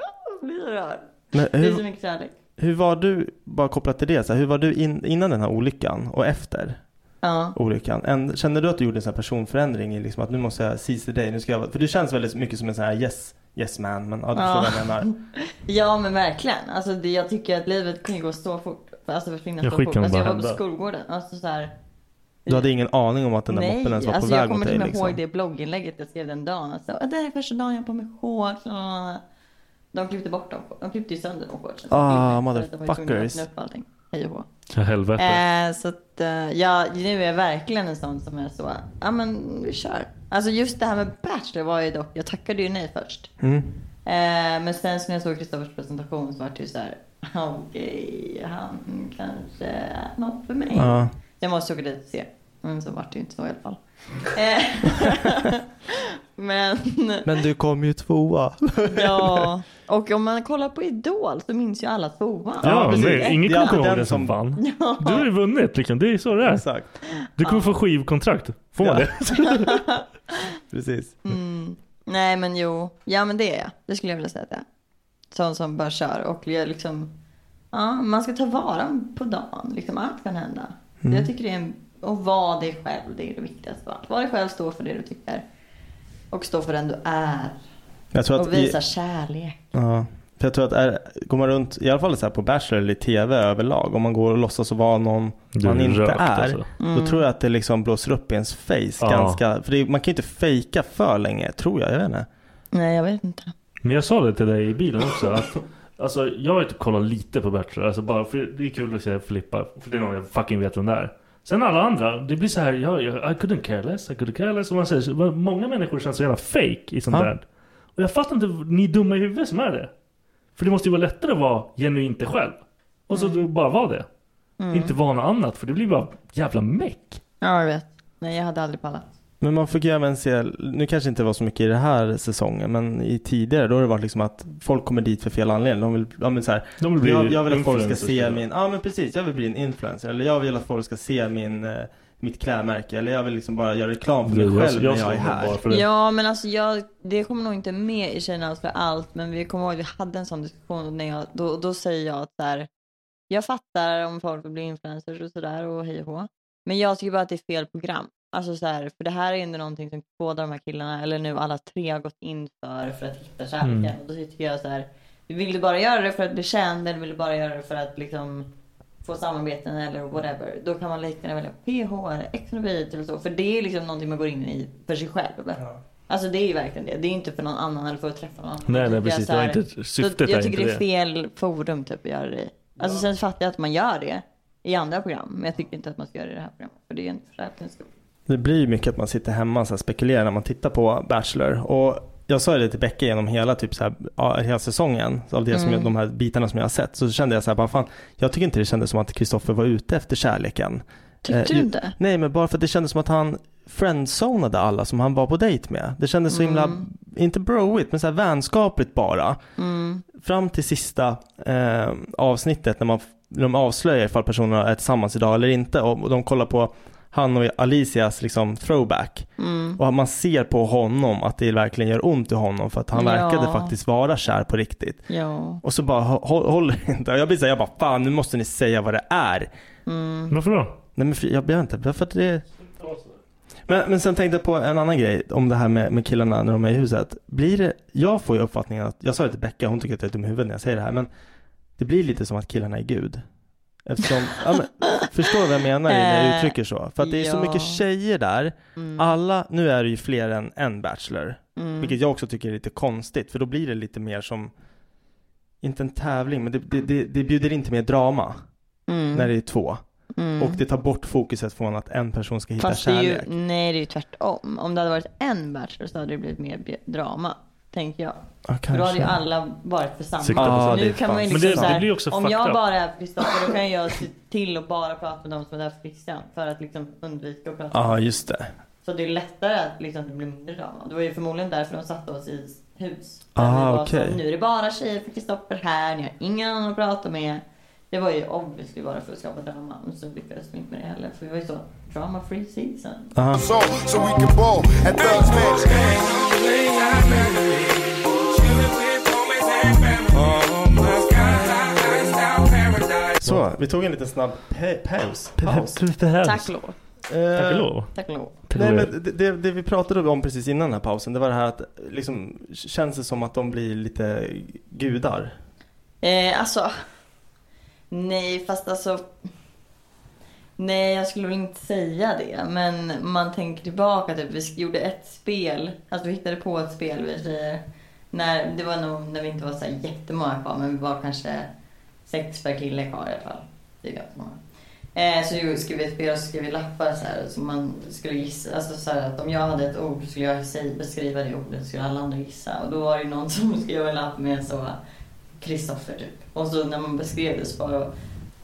jag blir rörd.
Men
Det är så
hur,
mycket kärlek.
hur var du, bara kopplat till det, så här, hur var du in, innan den här olyckan och efter
Ja.
olyckan? En, kände du att du gjorde en sån här personförändring i liksom att nu måste jag seize the day, nu ska jag, vara- för du känns väldigt mycket som en sån här yes, yes man, men ja, du
Ja.
förstår vad jag menar.
ja men verkligen. Alltså det, jag tycker att livet kan ju gå så fort. Alltså försvinna
Ja,
så
skit
fort.
kan
Alltså,
bara
jag var på
hända.
skolgården. Alltså så här,
Du hade ingen aning om att den där
Nej,
moppen ens var
alltså
på
jag
väg
kommer
mot
till och med
dig liksom.
ihåg det blogginlägget jag skrev den dagen. Alltså, "Ah, det här är första dagen jag har på mig shorts. ah." De klippte bort dem. De klippte ju sönder de shortsen.
Ah,
Så att de var ju tvungna att
motherfuckers.
öppna upp allting. Hej och hå.
Ja, Helvete.
Eh, så att, eh, ja, nu är jag verkligen en sån som är så, ah. ja men vi kör. Alltså just det här med Bachelor var ju dock, jag tackade ju nej först.
Mm.
Eh, men sen så när jag såg Kristoffers presentation så oh, var det ju såhär, okej, han kanske är något för mig.
Ja.
Jag måste åka dit och se. Men så var det ju inte så i alla fall. Eh, men,
Men du kom ju tvåa.
ja. Och om man kollar på Idol så minns ju alla tvåan.
Ja,
precis.
nej, ingen
Det är
kommer
alltid
komma ihåg
den
den som
som-
vann. Du har ju vunnit liksom. Det är så det är.
Exakt,
Du kommer få skivkontrakt. Får man
Ja.
det?
precis.
Nej men jo, ja men det är jag. Det skulle jag vilja säga att jag är. Sån som bara kör och jag liksom, ja man ska ta vara på dagen. Liksom allt kan hända.
Mm.
Jag tycker det är en, och vara dig själv, det är det viktigaste av allt. Var dig själv, stå för det du tycker. Och stå för den du är.
Jag tror att
Och
i-
visa kärlek.
Ja, för jag tror att är, går man runt, i alla fall så här på Bachelor eller i TV överlag, om man går och låtsas att vara någon
Du
man
är
inte
rökt,
är,
alltså.
då tror jag att det liksom blåser upp i ens face
Ja.
ganska, för det, man kan ju inte fejka för länge, tror jag, jag vet inte.
Nej jag vet inte.
Men jag sa det till dig i bilen också. Att, alltså, jag har ju typ kollat lite på Bachelor. Alltså, bara för det är kul att se Filippa. För det är någon jag fucking vet vem det är. Sen alla andra. Det blir så här. Jag, jag, I couldn't care less. I couldn't care less. Som man säger, så, många människor känns så jävla fake i sånt
Ja.
där. Och jag fattar inte ni dumma i huvudet som är det. För det måste ju vara lättare att vara genuint dig själv. Och så du bara vara det.
Mm.
Inte vara något annat för det blir bara jävla meck.
Ja, jag vet. Nej, jag hade aldrig pallat.
Men man fick ju även se, nu kanske inte var så mycket i den här säsongen, men i tidigare då har det varit liksom att folk kommer dit för fel anledning. De vill, ja, men så här,
De vill bli
jag, jag vill att folk ska
influencers,
se
ja.
min, ja men precis, jag vill bli en influencer. Eller jag vill att folk ska se min, eh, mitt klädmärke. Eller jag vill liksom bara göra reklam för mig
Jag-
själv
jag
när jag
såg
är
det
här.
bara för
Ja, men alltså jag, det kommer nog inte med i Tjejerna för allt, men vi kommer ihåg att vi hade en sån diskussion när jag, då, då säger jag att så här, jag fattar om folk vill bli influencers och sådär och hej och hå. Men jag tycker bara att det är fel program. Alltså så här, för det här är ändå någonting som båda de här killarna, eller nu alla tre, har gått in för, för att hitta kärleken.
Mm.
Och då tycker jag så här, vill du bara göra det för att bli känd eller vill du bara göra det för att liksom få samarbeten eller whatever. Då kan man lika gärna välja PH eller ekonomi eller så. För det är liksom någonting man går in i för sig själv. Alltså det är ju verkligen det. Det är inte för någon annan eller för att träffa någon annan.
Nej, nej,
Det är
precis.
så här-
Det var inte- syftet
så
är
Jag tycker
inte
det är
det.
fel forum typ att göra det i. Alltså sen fattar jag att man gör det i andra program. Men jag tycker inte att man ska göra det i det här programmet. För det är ju inte för rättens skull.
Det blir ju mycket att man sitter hemma och så här spekulerar när man tittar på Bachelor. Och jag sa ju det till Becka genom hela, typ så här, ja, hela säsongen, så av det som
Mm.
jag, de här bitarna som jag har sett. Så kände jag så här, bara, fan, jag tycker inte det kändes som att Kristoffer var ute efter kärleken.
Tyckte
Eh,
du
ju-
inte?
Nej, men bara för att det kändes som att han friendzonade alla som han var på dejt med. Det kändes så himla,
Mm.
inte broigt, men så här vänskapligt bara. Fram till sista eh, avsnittet när, man, när de avslöjar ifall personerna är tillsammans idag eller inte och, och de kollar på han och Alicias liksom throwback.
Mm.
Och man ser på honom att det verkligen gör ont i honom för att han
Ja.
verkade faktiskt vara kär på riktigt.
Ja.
Och så bara hå- hå- håller det inte. Och Jag blir såhär, jag bara fan nu måste ni säga vad det är.
Mm.
Varför då?
Nej men för- jag vet inte, varför att det men, men sen tänkte jag på en annan grej om det här med, med killarna när de är i huset. Blir det, jag får ju uppfattningen att, jag sa det till Becka, hon tycker att jag är dum i huvudet när jag säger det här, men det blir lite som att killarna är gud. Eftersom, ja, men, förstår du vad jag menar när jag
Eh,
uttrycker så? För att det är så
ja.
mycket tjejer där,
Mm.
alla, nu är det ju fler än en bachelor,
Mm.
vilket jag också tycker är lite konstigt, för då blir det lite mer som, inte en tävling, men det, det, det, det bjuder inte mer drama
Mm.
när det är två.
Mm.
Och det tar bort fokuset från att en person ska hitta
Fast det är
kärlek.
ju, nej det är ju tvärtom. Om det hade varit en bachelor så hade det blivit mer bi- drama. Tänker jag. För då hade ju
kanske.
alla varit för samma.
Sikta på samma.
nu
Ja,
kan
det är
man ju
fan-
liksom
Men det-
så här,
det blir också
Om
fucked
jag
up.
bara är Kristoffer då kan jag se till att bara prata med de som är där för Christian. För att liksom undvika att prata.
Ja, just det.
Så det är lättare att liksom, det blir mindre drama. Det var ju förmodligen därför de satte oss i hus.
Ah,
Där vi var
okej.
så, Nu är det bara tjejer för Kristoffer här. Ni har ingen annan att prata med. Det var ju obviously bara för att skapa drama. Men så lyckades vi inte med det heller. För vi var ju så drama free season.
Aha.
So, so we can ball at Thugs Match.
Så, vi tog en liten snabb pa- paus. paus.
Tack lov.
Eh,
Tack och lov. Tack och lov.
Nej, men det, det, det vi pratade om precis innan den här pausen, det var det här att liksom, känns det som att de blir lite gudar?
Eh, alltså. Nej, fast alltså. Nej, jag skulle väl inte säga det. Men man tänker tillbaka. Typ, vi sk- gjorde ett spel. Alltså vi hittade på ett spel, vi säger. När, det var nog när vi inte var så här jättemånga kvar. Men vi var kanske sex per kille kvar i alla fall. Det är ganska många. Eh, så ju- skrev vi ett spel och så skrev vi lappar så här. Så man skulle gissa. Alltså så här att om jag hade ett ord så skulle jag säg- beskriva det ordet. Så skulle alla andra gissa. Och då var det ju någon som skrev en lapp med så. Kristoffer typ. Och så när man beskrev det så var det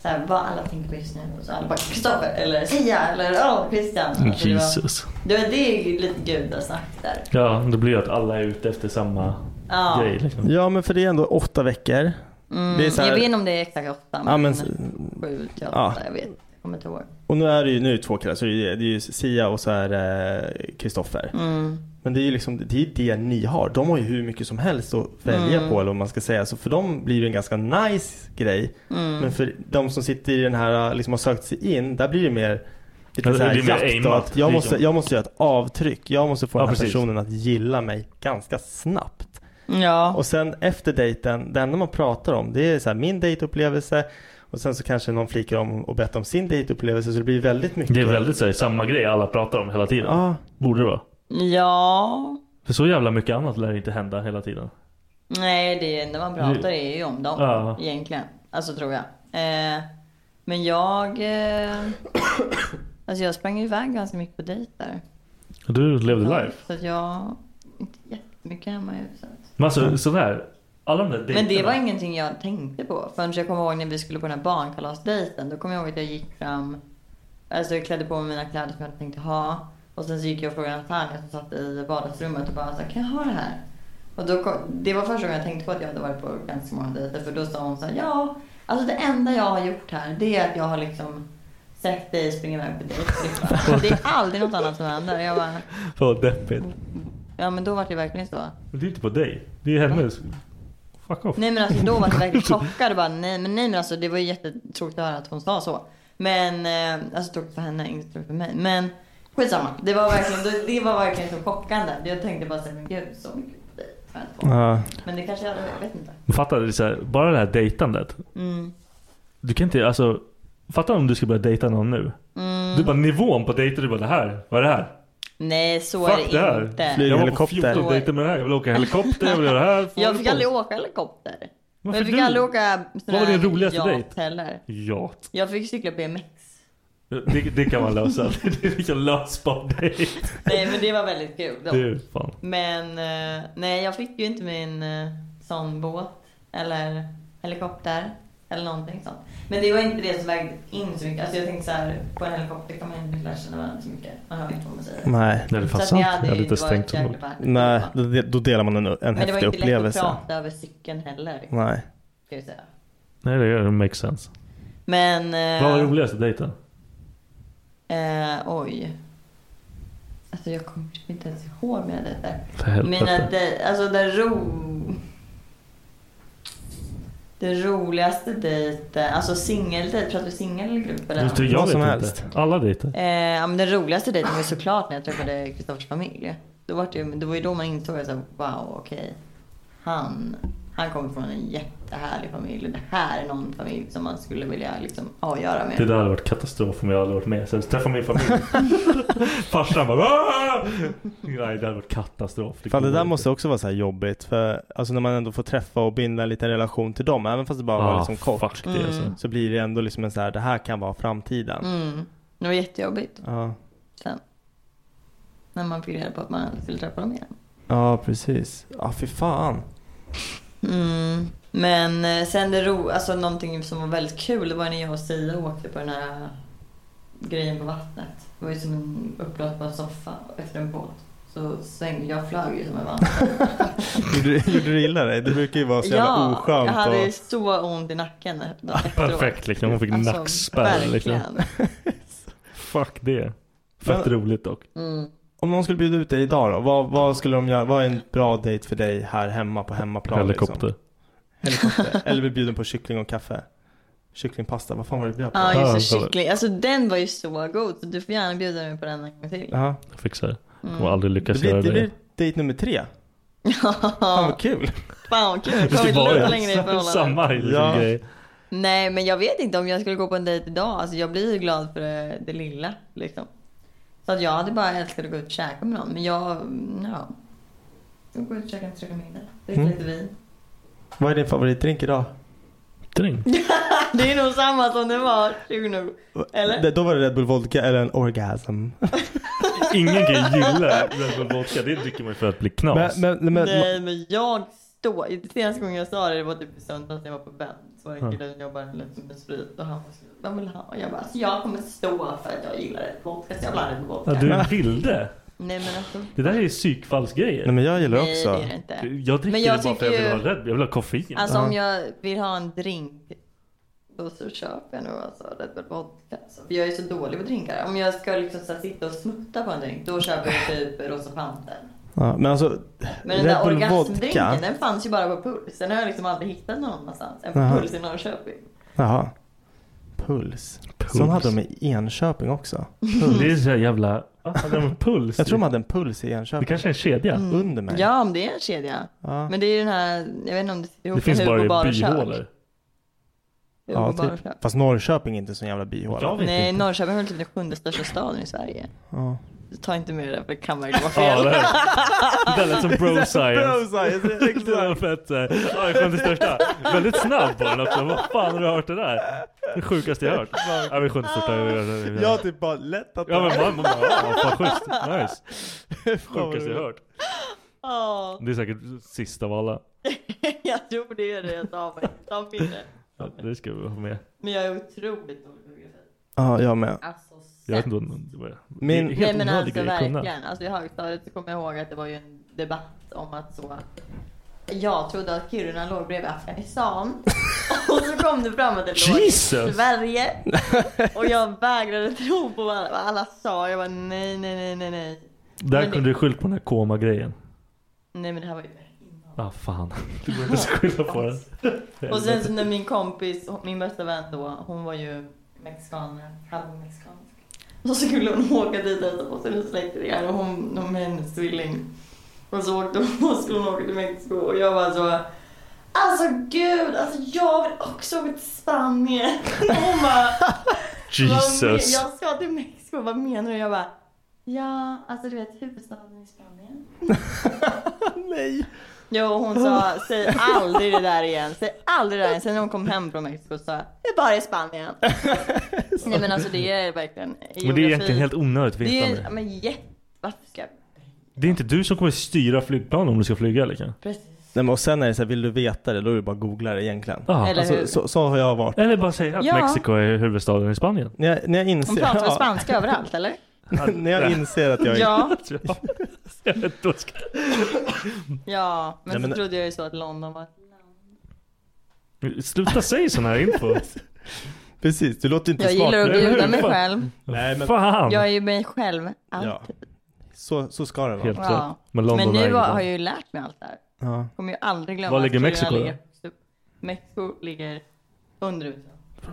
så här, vad alla tänker på just nu. Och så alla bara Kristoffer eller Sia eller åh Christian. Alltså, det var-
Mm, Jesus.
Det, var, det är ju lite gudasnack där.
Ja, det blir ju att alla är ute efter samma
Ja.
grej. Liksom.
Ja, men för det är ändå åtta veckor.
Mm,
Det är så här-
Jag vet inte om det är exakt åtta.
Ja, men-
Sju till åtta,
Ja.
jag vet. Jag kommer inte ihåg.
Och nu är det ju nu är det två killar, så det är ju- det är ju Sia och så är det Kristoffer.
Mm.
Men det är ju liksom, det är ju det ni har. De har ju hur mycket som helst att välja
Mm.
på eller vad man ska säga. Så för dem blir det en ganska nice grej.
Mm.
Men för de som sitter i den här, liksom har sökt sig in, där blir det mer
Ja,
Lite
det
så här
blir mer
jakt och
aimat,
att jag måste,
liksom.
jag måste göra ett avtryck. Jag måste få
Ja,
den här
precis.
personen att gilla mig ganska snabbt.
Ja.
Och sen efter dejten, det enda man pratar om det är så här, min dejtupplevelse och sen så kanske någon flikar om och berättar om sin dejtupplevelse så det blir väldigt mycket.
Det är väldigt så här, samma grej alla pratar om hela tiden.
Ja.
Borde det vara.
Ja.
För så jävla mycket annat lär inte hända hela tiden.
Nej, det enda man pratar är ju om dem
Ja.
egentligen. Alltså tror jag. Eh, men jag... Eh, alltså jag sprang iväg ganska mycket på dejter.
Du levde
Ja,
life.
Så att jag... Inte jättemycket hemma i huset.
Men alltså sådär. Alla de där dejterna.
Men det var ingenting jag tänkte på förrän jag kommer ihåg när vi skulle på den här barnkalasdejten. Då kommer jag ihåg att jag gick fram, alltså jag klädde på mig mina kläder som jag hade tänkt ha. Och sen så gick jag och frågade Natanja som satt i vardagsrummet och bara så här, kan jag ha det här? Och då kom, det var första gången jag tänkte på att jag hade varit på ganska många dejter. För då sa hon så här, ja, alltså det enda jag har gjort här det är att jag har liksom sett dig springa iväg på dejt. Det är aldrig något annat som händer. Jag bara,
Fan vad deppigt.
ja men då var det verkligen så.
Men det är inte på dig. Det är hennes. Fuck off.
Nej men alltså då var det verkligen chockad och bara nej men nej men alltså det var ju jättetråkigt att höra att hon sa så. Men eh, alltså tråkigt för henne, inte tråkigt för mig. Men skitsamma. Det var verkligen, det- det var verkligen så chockande. Jag tänkte bara såhär men gud så mycket dejt.
Ja.
Men det kanske jag hade, jag vet inte.
Men Fatta, det är så här, bara det här dejtandet.
Mm.
Du kan inte, alltså. Fatta om du ska börja dejta någon nu.
Mm.
Du bara nivån på dejter, du bara det här, vad är det här?
Nej så är
Fuck det
det
här.
inte.
Jag var på 14 dejter med det här. Jag vill åka helikopter, jag vill göra det här. Fan,
Jag fick
vad-
aldrig åka helikopter. Men
Varför
jag fick
du?
aldrig åka sån
Vad var din
här
roligaste
yacht
dejt?
heller.
Ja.
Jag fick cykla BMX.
Det, det kan man lösa. Det är liksom vilken lösbar dejt.
Nej men det var väldigt kul. då.
Det är fan.
Men eh, nej, jag fick ju inte min eh, sån båt eller helikopter eller någonting sånt. Men det var inte det som vägde in så mycket. Alltså jag tänkte så här, på en helikopter kan man inte lära känna varandra så mycket. Man hör inte vad man säger.
Nej.
Det är fan
Så att ni
sant.
hade
Jag
ju
hade
inte
inte
varit
tänkt så
jäkla
mycket.
värda.
Nej, då, då delar man en, en
Men det var
häftig
inte
upplevelse.
lätt att prata över cykeln heller.
Nej.
Ska jag säga.
Nej det gör det makes sense.
Men... eh,
Vad var roligaste dejten?
Eh, oj. Alltså jag kommer typ inte ens ihåg mina dejter.
För helvete.
Mina dej- alltså den ro... Den roligaste dejten, alltså singeldejt, pratar vi singel eller grupp eller?
Just det, jag
Vad
vet
som
inte.
helst.
Alla dejter.
Eh, ja, men den roligaste dejten var ju såklart när jag träffade Kristoffers familj. Då var det, ju, det var ju då man insåg att så här, wow, okej. Han, han kommer från en jättehärlig familj. och Det här är någon familj som man skulle vilja liksom, ha att göra med.
Det där hade varit katastrof om jag hade varit med. Sen träffade min familj. Farsan bara "Ah!" Nej det hade varit katastrof.
Fan, det
går
där
inte.
måste också vara så här jobbigt för alltså när man ändå får träffa och binda en liten relation till dem även fast det bara
Ah,
var liksom kort
fuck det, alltså. Mm.
så blir det ändå liksom en så här det här kan vara framtiden.
Mm. Det var jättejobbigt
Ja.
sen. När man fick reda på att man skulle träffa dem igen.
ja precis. Ja fy fan.
Mm. Men eh, sen det ro, alltså någonting som var väldigt kul det var när jag och Sia åkte på den här grejen på vattnet. Det var ju som en uppblåsbar soffa efter en båt. Så svängde jag flög ju som en vandrare.
Gjorde du- Gjorde du illa dig? Det brukar ju vara så jävla
jag
oskönt.
hade
och...
så ont i nacken efteråt.
Perfekt liksom. Hon fick
Alltså,
nackspärr liksom.
verkligen.
Fuck det. Fett
Men-
roligt dock.
Mm.
Om någon skulle bjuda ut dig idag då? Vad, vad skulle de göra? Vad är en bra dejt för dig här hemma på hemmaplan?
Helikopter.
Liksom? Helikopter. Eller bli bjuden på kyckling och kaffe. Kycklingpasta, vad fan var det vi bjöd på?
Ja just det, kyckling. Alltså den var ju så god. Så du får gärna bjuda mig på den en gång till.
Ja.
Jag fixar det.
Mm.
Kommer aldrig lyckas
Det blir,
göra
det
det.
blir dejt nummer tre. Fan vad kul.
Fan vad kul, jag
Det
kommit
var
lite
ju
längre i
sam-
förhållandet.
Samma liksom
Ja.
grej.
Nej men jag vet inte om jag skulle gå på en dejt idag. Alltså jag blir ju glad för det, det lilla liksom. Så att jag hade bara älskat att gå ut och käka med någon. Men jag, mm, ja. Jag går ut och käkar en trevlig middag. Dricka
Mm.
lite vin.
Vad är din favoritdrink idag?
Drink?
Det är nog samma som det var 20 Eller?
Det, då var det Red Bull Vodka eller en orgasm.
Ingen kan ju gilla Red Bull Vodka. Det dricker man ju för att bli knas.
Men, men, men,
Nej men jag står, senaste gången jag sa det, det var typ i söndags när jag var på Ben. Så var det en kille som jobbade lite med sprit och han var så, vad vill han? Och jag bara, alltså, jag kommer stå för att jag gillar det. Vodka, så jag blandar med vodka.
Ja, du är en vilde.
Nej men alltså.
Det där är ju psykfallsgrejer.
Nej men jag gillar
Nej,
också.
det är det inte.
Jag dricker
Men jag
det bara för att jag
tycker
vill
ju-
ha Red Bull. Jag vill ha koffein.
Alltså om jag vill ha en drink då så köper jag nog alltså Red Bull Vodka. Alltså. För jag är så dålig på drinkar. Om jag ska liksom så här sitta och smutta på en drink då köper jag typ Rosa Panten.
Ja, men alltså
Men den
Red
där
Bull
orgasmdrinken
Vodka.
den fanns ju bara på Puls. Den har jag liksom aldrig hittat någon annanstans än
Jaha.
på Puls i Norrköping.
Jaha. Puls.
Puls.
Sån hade de i Enköping också.
Det är så här jävla... Ah, hade de en puls?
Jag tror de
man...
hade en puls i
Det
Enköping.
kanske är en kedja.
Mm.
Under mig.
Ja men det är en kedja.
Ja.
Men det är ju den här, jag vet inte om det sitter ihop
Det finns
med Hugo
bara
Bar
i
och
byhålor.
Kök. Hugo
Ja,
Bar och
typ.
Kök.
Fast Norrköping är inte så jävla bihåla.
Jag vet
Nej
inte.
Norrköping är väl typ den sjunde största staden i Sverige.
Ja.
Ta inte med det där för det kan verkligen vara
Ja,
fel.
det,
Ah.
här- det där lät som bro science.
science,
Det var fett så här. Ja, jag skämde största. Väldigt snabb var den också. Vad fan har du hört det där? Det sjukaste jag hört.
Ah.
Ja, vi skämde största.
Jag har typ bara lätt att...
Ja men man, man bara, ja, fan schysst. Nice. Sjukaste jag hört.
Ja,
Det är säkert sista av alla.
jag tror det är det. Ta mig. Ta minne.
Ja, det ska vi ha med.
Men jag är otroligt dålig på geografi.
Ja, jag med.
Alltså,
Jag vet inte om det var
Min-
det är
Nej
helt
men
onödig
alltså
grej att kunna.
verkligen. Alltså, I högstadiet så kommer jag ihåg att det var ju en debatt om att så att jag trodde att Kiruna låg bredvid Afghanistan. Och så kom det fram att det låg i
Jesus!
Sverige. Och jag vägrade tro på vad alla, vad alla sa. Jag var nej, nej, nej, nej, nej.
Där
Men det-
kunde du skylt på den här koma-grejen.
Nej men det här var ju
Ah fan. Du går inte ens skylla på den.
Och sen så när min kompis, min bästa vän då, hon var ju mexikan, halvmexikansk. Och så skulle hon åka dit efteråt till hennes släktingar och hon, hon med hennes tvilling. Och så åkte hon och skulle hon åka till Mexiko och jag var så Alltså gud, alltså jag vill också åka till Spanien. Och hon bara, "Vad men-
Jesus.
Jag ska till Mexiko, vad menar du? Jag bara, ja alltså du vet huvudstaden i Spanien.
Nej.
Jo, hon sa säg aldrig det där igen, säg aldrig det där igen. Sen när hon kom hem från Mexiko så sa jag, det är bara i Spanien. Nej men alltså det är verkligen
Men det är egentligen helt onödigt att
Det är
veta om
ju-
det.
men jätte, varför ska jag?
Det är inte du som kommer styra flygplanen om du ska flyga eller kan?
Nej, men och sen är det så här, vill du veta det, då är det bara att googla det egentligen.
Ja. Eller
alltså,
hur?
så, så har jag varit.
Eller bara säga att
Ja.
Mexiko är huvudstaden i Spanien.
När jag, när jag
Hon
inser,
pratar väl
ja,
spanska överallt eller?
när jag inser att jag är...
Ja.
Jag vet inte vad jag ska-
Ja, men,
Nej, men-
så trodde jag ju så att London var
Sluta säga sån här info.
Precis, du låter inte
Jag
smart.
gillar att
Eller hur?
bjuda mig
Fan.
själv.
Nej, men,
Jag är ju mig själv alltid.
Ja. Så, så ska det vara.
Helt
Ja. Men, nu har, har jag ju lärt mig allt det här.
Ja.
Kommer ju aldrig glömma
Var
att
ligger
Kiruna
Mexiko då?
ligger högst upp. Mexiko ligger under USA.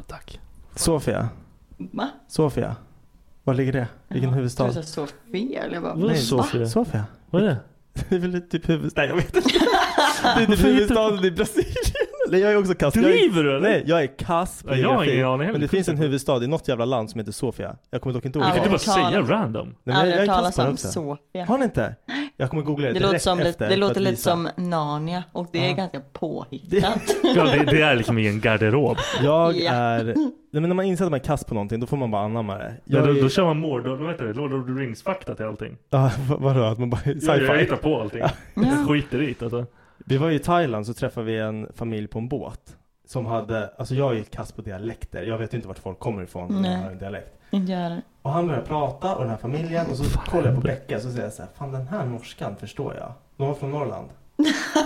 Tack.
Sofia.
Va?
Sofia. Var ligger det? Vilken huvudstad?
Jag trodde jag sa fel. Jag bara,
Nej, Sofia. Sofia.
Vad är det?
Det är väl typ huvudstad... Nej jag vet inte. Det är typ huvudstaden i Brasilien. Nej jag är också kass.
Driver du,
jag är,
eller?
Nej jag är kass på
Ja, jag har
geografi.
ingen aning heller.
Men det finns en huvudstad i något jävla land som heter Sofia. Jag kommer dock inte ihåg
Du kan
vilken.
inte bara säga random.
Nej, men
Aldrig
jag är
hört talas
kass på det
om
också.
Sofia.
Har ni inte? Jag kommer googla det,
Det,
direkt
låter, som
efter
lite, det
för
låter
att
lite
visa.
som Narnia och det är ganska påhittat.
Ja, det, det är liksom ingen garderob.
Jag
Ja.
är... Nej, men när man inser att man är kass på någonting då får man bara anamma det.
Ja,
Jag
då,
är...
då kör man Mordor, vad heter det? Lord of the Rings-fakta till allting.
Ja, vad- vadå? Att man bara...
Jag, jag
Sci-fi?
hittar på allting.
Ja.
Jag skiter i det alltså.
Vi var ju i Thailand så träffade vi en familj på en båt. Som hade, alltså jag är ju kass på dialekter. Jag vet ju inte vart folk kommer ifrån när
Nej.
jag har en dialekt.
Inte jag heller.
Och han börjar prata och den här familjen och så kollar jag på Becka och så säger jag så här, fan den här norskan förstår jag. De var från Norrland.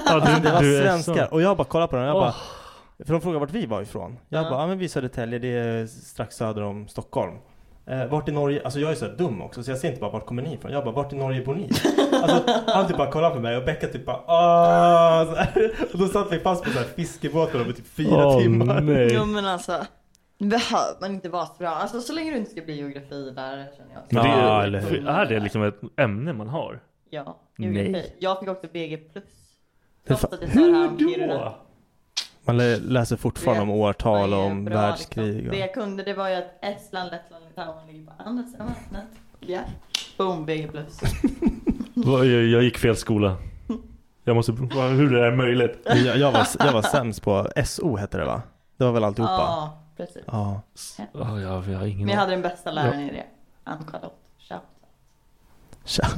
Alltså, det var svenskar. Och jag bara kollar på den och jag bara, för de frågar vart vi var ifrån. Jag
Ja.
bara, ja men vi är Södertälje, det är strax söder om Stockholm. Eh, vart i Norge, alltså jag är så här dum också så jag ser inte bara vart kommer ni ifrån? Jag bara, vart i Norge bor ni? Alltså han typ bara kollar på mig och Becka typ bara, "Åh", så här. Och då satt vi fast på så här fiskebåtar över typ fyra
Åh,
timmar.
nej.
Jo men alltså. Behöver man inte vara så bra. Alltså så länge du inte ska bli geografilärare känner jag.
Men det,
Ja,
är-
eller hur?
Är det liksom ett ämne man har?
Ja, geografi. Jag fick också BG plus. Trots
fan-
att jag sa det här om
Hur då?
Kiruna.
Man lä- läser fortfarande om årtal och om
Bra, liksom.
världskrig. Och...
Det jag kunde det var ju att Estland, Lettland, Litauen ligger på andra sidan vattnet. Ja. Boom, BG plus.
Vad- Jag, jag gick fel skola. Jag måste... vad- Hur det är möjligt?
Jag, jag, var, jag var sämst på SO hette det va? Det var väl alltihopa?
Ja, precis.
Ja.
Ja, jag, jag har ingen
Men jag hade den bästa läraren
Ja.
i det. Ann-Charlotte. Shout.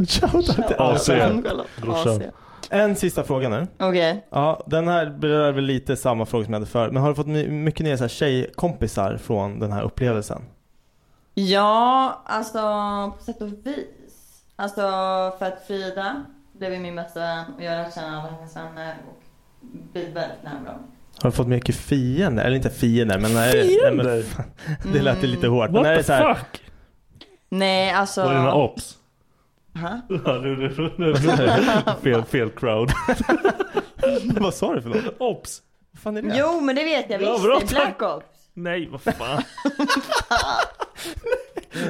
Shout, shout out till
AC.
alla.
Ann-Charlotte.
Brorsan.
AC.
En sista fråga nu.
Okej.
Ja, den här berör väl lite samma fråga som jag hade förut. Men har du fått my- mycket nya så här, tjejkompisar från den här upplevelsen?
Ja, alltså på sätt och vis. Alltså för att Frida blev ju min bästa vän och jag lärde känna alla hennes vänner och blev väldigt nära dem.
Har du fått mycket fiender? Eller inte fiender men... Nej, Nej, men
Fiender?
fan, det lät ju lite hårt.
What
men är
the
det så här,
fuck?
Nej, alltså.
Var det dina ops?
Ha?
Ja, nu- nu- nu- nu- nu- fel, fel crowd.
Vad sa du för något?
Ops!
Vad fan är det?
Jo, men det vet jag
Ja,
visst.
bra,
det är Black Ops.
Nej, vad fan.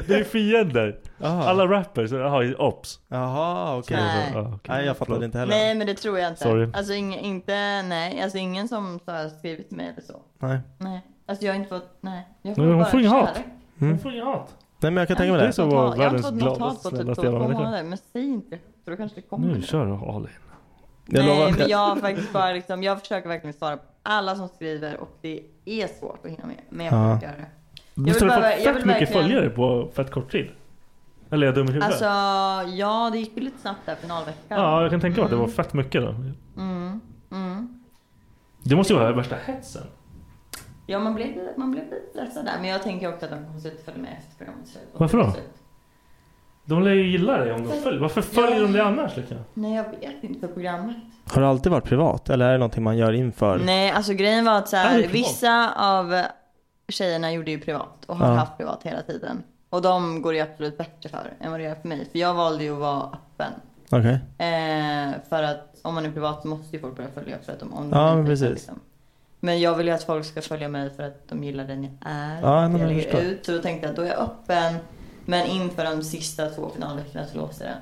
det är fiender.
Aha.
Alla rappers har ju ops.
Jaha, okej.
Nej.
Ja, okej.
Nej, jag fattade inte heller.
Nej, men det tror jag inte.
Sorry.
Alltså ing, inte, nej. Alltså ingen som så har skrivit till mig eller så.
Nej.
Nej. Alltså jag har inte fått, nej. Jag
Men hon
bara
får ingen hat.
kärlek.
Hon får ju hat.
Nej, men jag kan tänka mig
Det är
det.
så
Jag har
var
inte
världens
fått något hat
gladaste,
på typ
snällaste
två
jävla människa.
månader. Men säg inte det, för då kanske det kommer.
Nu kör du Alin.
Jag lovar
Nej,
att
men
jag-
jag har faktiskt bara liksom, jag försöker verkligen svara på alla som skriver och det är svårt att hinna med. Men jag
Ja.
försöker göra det.
Du
vill
har
bara-
fått
jag
fett
vill
mycket
verkligen-
följare på fett kort tid. Eller är jag dum i huvudet?
Alltså, ja det gick ju lite snabbt där finalveckan.
ja, jag kan tänka mig att det var
Mm.
fett mycket då.
Mm, mm.
Det måste ju vara värsta hetsen.
Ja, man blev, man blev lite ledsen där. Men jag tänker också att de kommer att följa med efter programmet slut.
Varför då? De lär ju gilla dig om de följer. Varför följer de dig annars? Liksom?
Nej, jag vet inte för programmet.
Har det alltid varit privat eller är det någonting man gör inför?
Nej, alltså grejen var att så
Är det
här,
privat?
vissa av tjejerna gjorde ju privat och har
Ja.
haft privat hela tiden. Och de går det ju absolut bättre för än vad det gör för mig. För jag valde ju att vara öppen.
Okej.
Eh, för att om man är privat måste ju folk börja följa för att de om de
Ja, men
inte- liksom.
precis.
Men jag vill ju att folk ska följa mig för att de gillar den jag är.
Ja, nej, men
jag
jag
lägger
förstår.
ut. Så då tänkte jag att då är jag öppen. Men inför de sista två finalveckorna så låste den.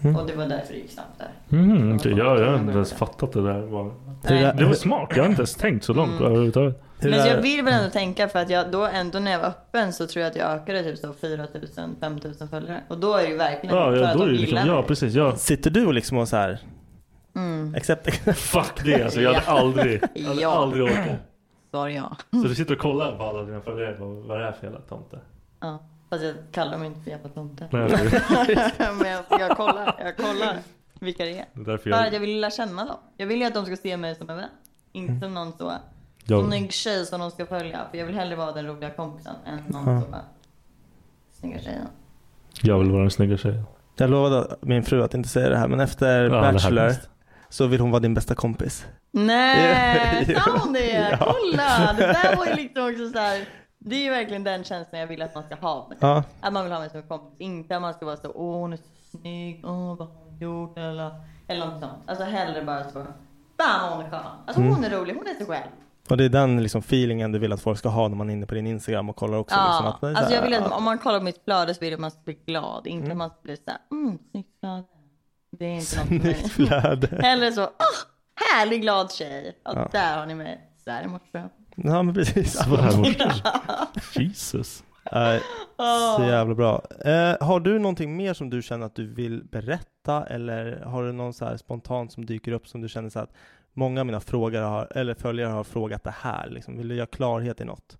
Mm.
Och det var därför det gick snabbt där.
Mm, inte- jag, jag har inte ens fattat det där. Var.
Nej.
Det var smart. Jag har inte ens tänkt så långt
Mm.
överhuvudtaget.
Men jag vill väl ändå tänka för att jag då ändå när jag var öppen så tror jag att jag ökade typ så 4000, 5000 följare. Och då är det ju verkligen
Ja,
för
ja,
att
då är
de
det
gillar
liksom, ja
mig.
precis. Ja.
Sitter du och liksom och så här
Mm.
Except...
Fuck det alltså. Jag hade aldrig, jag hade
Ja.
aldrig orkat.
Svar ja.
Så du sitter och kollar på alla dina följare. Vad vad är det här för jävla tomte?
ja. Fast jag kallar dem inte för jävla tomte.
Nej, jag vet.
Men jag, jag kollar, jag kollar vilka det är.
Det är därför
För
jag-
att jag vill lära känna dem. Jag vill ju att de ska se mig som en vän. Inte som någon så.
Mm. Jag-
Snygg tjej som de ska följa. För jag vill hellre vara den roliga kompisen än någon
Ja.
som bara. Snygga tjejen.
Jag vill vara den snygga tjejen.
Jag lovade min fru att inte säga det här men efter
Ja, det här
Bachelor
visst.
så vill hon vara din bästa kompis.
Nej,
Ja,
sa hon det?
ja.
Kolla! Det där var ju liksom också så här. Det är ju verkligen den känslan jag vill att man ska ha. av mig.
Ja.
Att man vill ha mig som en kompis. Inte att man ska vara så åh hon är så snygg, åh vad har hon gjort eller, eller något sånt. Alltså hellre bara så fan vad hon är skön. Alltså hon är
Mm.
rolig, hon är sig själv.
Och det är den liksom feelingen du vill att folk ska ha när man är inne på din Instagram och kollar också. Liksom,
Ja,
att, det är så
alltså jag
här,
vill att
ja.
om man kollar på mitt flöde så vill jag att man ska bli glad. Inte att man ska bli såhär, mm, snyggt flöde. Det är inte något för mig.
Snyggt flöde.
Hellre så, åh, härlig glad tjej. Ja,
Ja.
där har ni mig. Så här är morsan.
Ja men precis.
Så här morse. Jesus.
Nej, så
Åh.
jävla bra. Eh, har du någonting mer som du känner att du vill berätta eller har du någon så här spontant som dyker upp som du känner så här att många av mina frågor har, eller följare har frågat det här liksom. Vill du göra klarhet i något?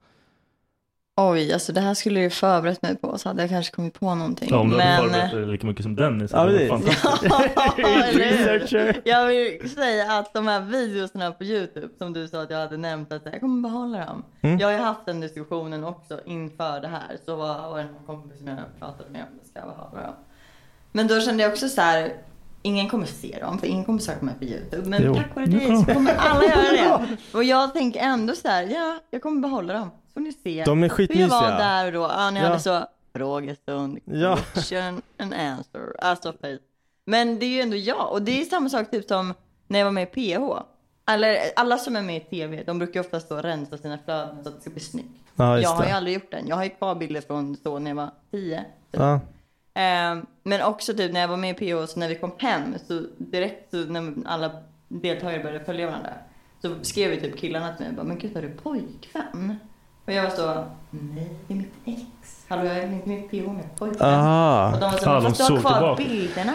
Oj, alltså det här skulle du förberett mig på så hade jag kanske kommit på någonting.
Ja, om du hade
men...
förberett dig lika mycket som Dennis.
Ja,
hade det
precis.
varit fantastiskt.
Researcher. Jag vill säga att de här videorna på Youtube som du sa att jag hade nämnt att jag kommer behålla dem.
Mm.
Jag har ju haft den diskussionen också inför det här. Så var, var det någon kompis som jag pratade med om det ska jag behålla dem. Men då kände jag också så här. Ingen kommer se dem för ingen kommer söka mig på Youtube. Men
Jo.
tack vare
Nu
dig
kommer
så
de.
kommer alla göra det. Och jag tänker ändå så här. Ja, jag kommer behålla dem. Så får ni se.
De är
För jag var
skitmysiga.
där och då. Ja, ni
Ja.
hade så frågestund,
Ja.
question and answer. Alltså fint. Men det är ju ändå jag. Och det är samma sak typ som när jag var med i PH. Eller alla som är med i TV, de brukar ju oftast då rensa sina flöden så att det ska bli snyggt.
Ja, just
jag har ju
det.
aldrig gjort den. Jag har ju kvar bilder från så när jag var typ. 10.
Ja.
Ehm, men också typ när jag var med i PH, så när vi kom hem, så direkt så när alla deltagare började följa varandra, så skrev ju typ killarna till mig bara, men gud har du pojkvän? Och jag var så, nej det är mitt ex. Hallå jag är inte med i PH nu, pojkvän.
Ah.
Och de var så,
Fan, de
fast du har
såg
kvar
tillbaka."
bilderna.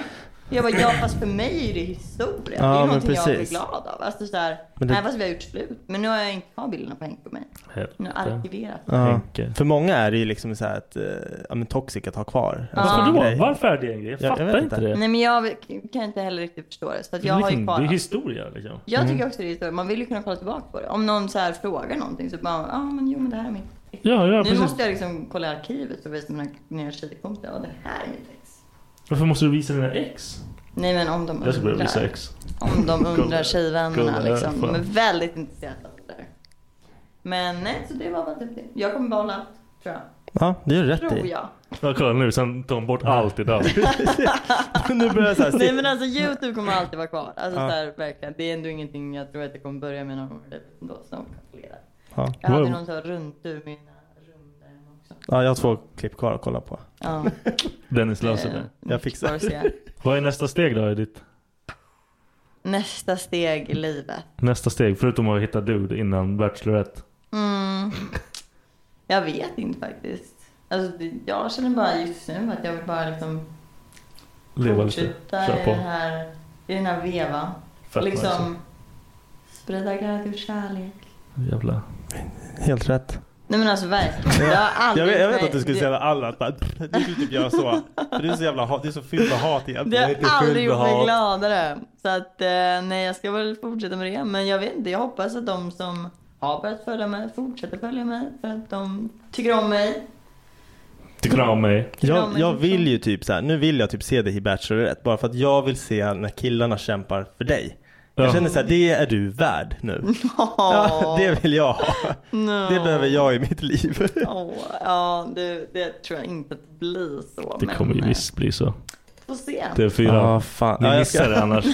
Jag bara, ja fast för mig är det historia.
Ja,
det är
men
någonting jag blir
precis.
glad av. Alltså så här,
Men det-
nej fast vi har gjort slut. Men nu har jag inte kvar bilderna på Henke och mig. Nu har jag arkiverat.
Ja. För många är det ju liksom så här att, eh, ja men toxic att ha kvar.
Ja. Varför då?
Varför är det en grej? Jag fattar
vet
inte det.
Nej men jag kan inte heller riktigt förstå det. Så att
Det
jag
är,
har ju
liksom,
kvar
det är
allt.
historia liksom.
Jag tycker också det är historia. Man vill ju kunna kolla tillbaka på det. Om någon så här frågar någonting så bara, ja ah, men jo men det här är mitt ex.
Ja, ja,
nu
precis.
måste jag liksom kolla i arkivet och visa mina nya tjejkompisar, ja det här är mitt ex.
Varför måste du visa dina ex?
Nej men om de undrar.
Jag ska börja visa ex.
Om de undrar
Kolla- kolla
tjejvännerna
här,
liksom.
fan.
De är väldigt intresserade av det där. Men nej, så det var väl typ det. Jag kommer behålla allt, tror jag.
Ja, det gör du
Tror
rätt i.
jag.
Ja, kolla nu, sen tar de bort allt idag.
nu börjar jag så här,
Nej men alltså Youtube kommer alltid vara kvar. Alltså
Ja.
så här, verkligen. Det är ändå ingenting jag tror att jag kommer börja med någon gång i livet ändå. Så de kan få leda.
Ja.
Jag hade någon sån här rundtur med
Ja, jag har två klipp kvar att kolla på.
Ja.
Dennis löser det.
Eh.
Jag fixar
Bara se.
Vad är nästa steg då i ditt?
nästa steg i livet.
Nästa steg, förutom att hitta dude innan Bachelorette.
Mm. Jag vet inte faktiskt. Alltså, det- jag känner bara just nu att jag vill bara liksom
Leva lite.
fortsätta
Kör
i
på.
den här, i den här vevan.
Fett
liksom
nice.
sprida glädje och kärlek.
Jävla.
Helt rätt.
Nej men alltså verkligen. Det har aldrig
jag, vet, jag
hänt
vet
mig.
att du skulle
Det-
säga alla bara, du skulle typ göra så. För du är så jävla hat, du är så fylld med hat. i-
Det
Jag är
har
inte fylld
aldrig gjort
med
mig
hat.
gladare. Så att eh, nej, jag ska väl fortsätta med det. Men jag vet inte, jag hoppas att de som har börjat följa mig fortsätter följa mig. För att de tycker om mig.
Tycker om mig.
Jag, jag vill ju typ så här, nu vill jag typ se dig i Bachelorette bara för att jag vill se när killarna kämpar för dig. Jag
Ja.
känner så här, det är du värd nu.
Ja,
det vill jag ha.
No.
Det behöver jag i mitt liv.
Åh, ja, det, det tror jag inte att det blir så.
Det
men
kommer ju visst bli så.
Får se.
TV4.
Ja, fan.
Ni
Ja, jag
missar
ska-
det annars.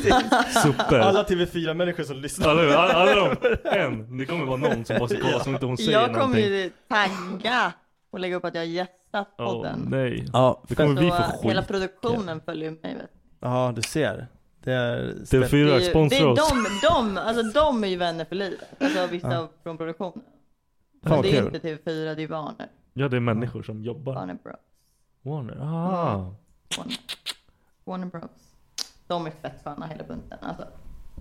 Super.
Alla TV4-människor som lyssnar.
Alla, alla de, en. Det kommer vara någon som måste kolla så inte hon säger
Jag kommer
någonting.
ju tagga och lägga upp att jag har gästat
Åh,
podden.
nej.
Ja,
det kommer
Så,
vi få
eh, Hela
skit.
produktionen följer mig. Vet. du.
Ja, du ser. Det är...
TV4
Det är ju- det är de, de, alltså de är ju vänner för livet. Alltså vissa
Ja.
från produktionen.
Fan,
Men det är
kul.
inte TV4, det är ju Warner.
Ja, det är människor som jobbar.
Warner Bros.
Warner. Ah.
Warner. Warner Bros. De är fett sköna hela bunten. Alltså,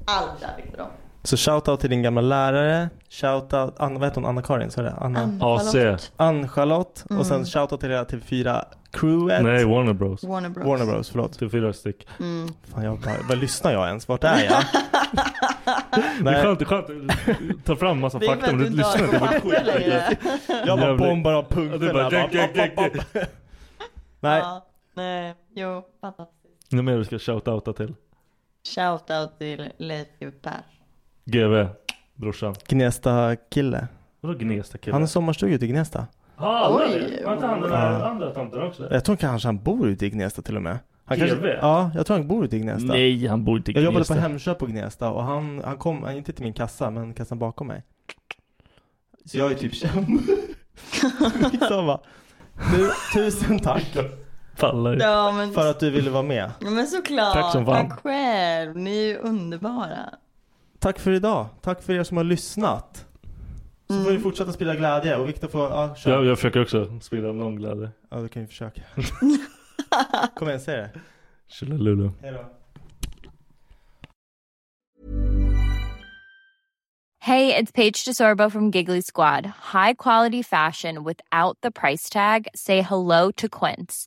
allt där vill de.
Så shoutout till din gamla lärare. Shoutout, Anna, vad heter hon? Anna-Karin? Sa jag det? Anna.
Ann-Charlotte. AC.
Ann-Charlotte.
Mm.
Och sen shoutout till hela TV4-crewet.
Nej, Warner Bros.
Warner Bros.
Warner Bros, förlåt.
TV4 styck.
Mm.
Fan, jag bara, vad lyssnar jag ens? Vart är jag?
Det är
Nej.
skönt, det är skönt. att Ta fram massa
Det är för
fakta men
att
du
du inte har
lyssnar inte på
fakta längre.
skit.
Jag bara
Jävligt.
bombar av
Ja, du
punkterna.
bara,
Bara,
gäck, gäck, gäck,
app, app,
gäck.
app. Nej.
Ja, nej, jo, fantastiskt.
Nu mer du ska shoutouta till.
Shoutout till Leif GW Persson.
GV, brorsan.
Gnesta-kille.
Vadå Gnesta-kille?
Han har sommarstuga ute i Gnesta.
Ah,
Oj.
Oj! Var inte han den där
Ja.
andra tanten också?
Jag tror kanske han bor ute i Gnesta till och med. Han
TV?
kanske, ja, jag tror han bor ute i Gnesta.
Nej, han bor inte i
Jag jobbade på
Gnesta.
Hemköp på Gnesta och han, han kom, han, inte till min kassa, men kassan bakom mig. Så jag är typ känd. Skitsamma. Du, tusen tack.
Faller.
Ja, men-
För att du ville vara med.
Ja, Men såklart,
Tack som fan.
tack själv. Ni är ju underbara.
Tack för idag. Tack för er som har lyssnat. Så får
Mm.
vi fortsätta sprida glädje och Viktor får, ja, kör.
Jag, jag försöker också sprida någon glädje.
Ja, då kan vi försöka. Kom igen, säg det.
Tjolilulu.
Hej då.
Hey, it's Paige DeSorbo from Giggly Squad. High quality fashion without the price tag. Say hello to Quince.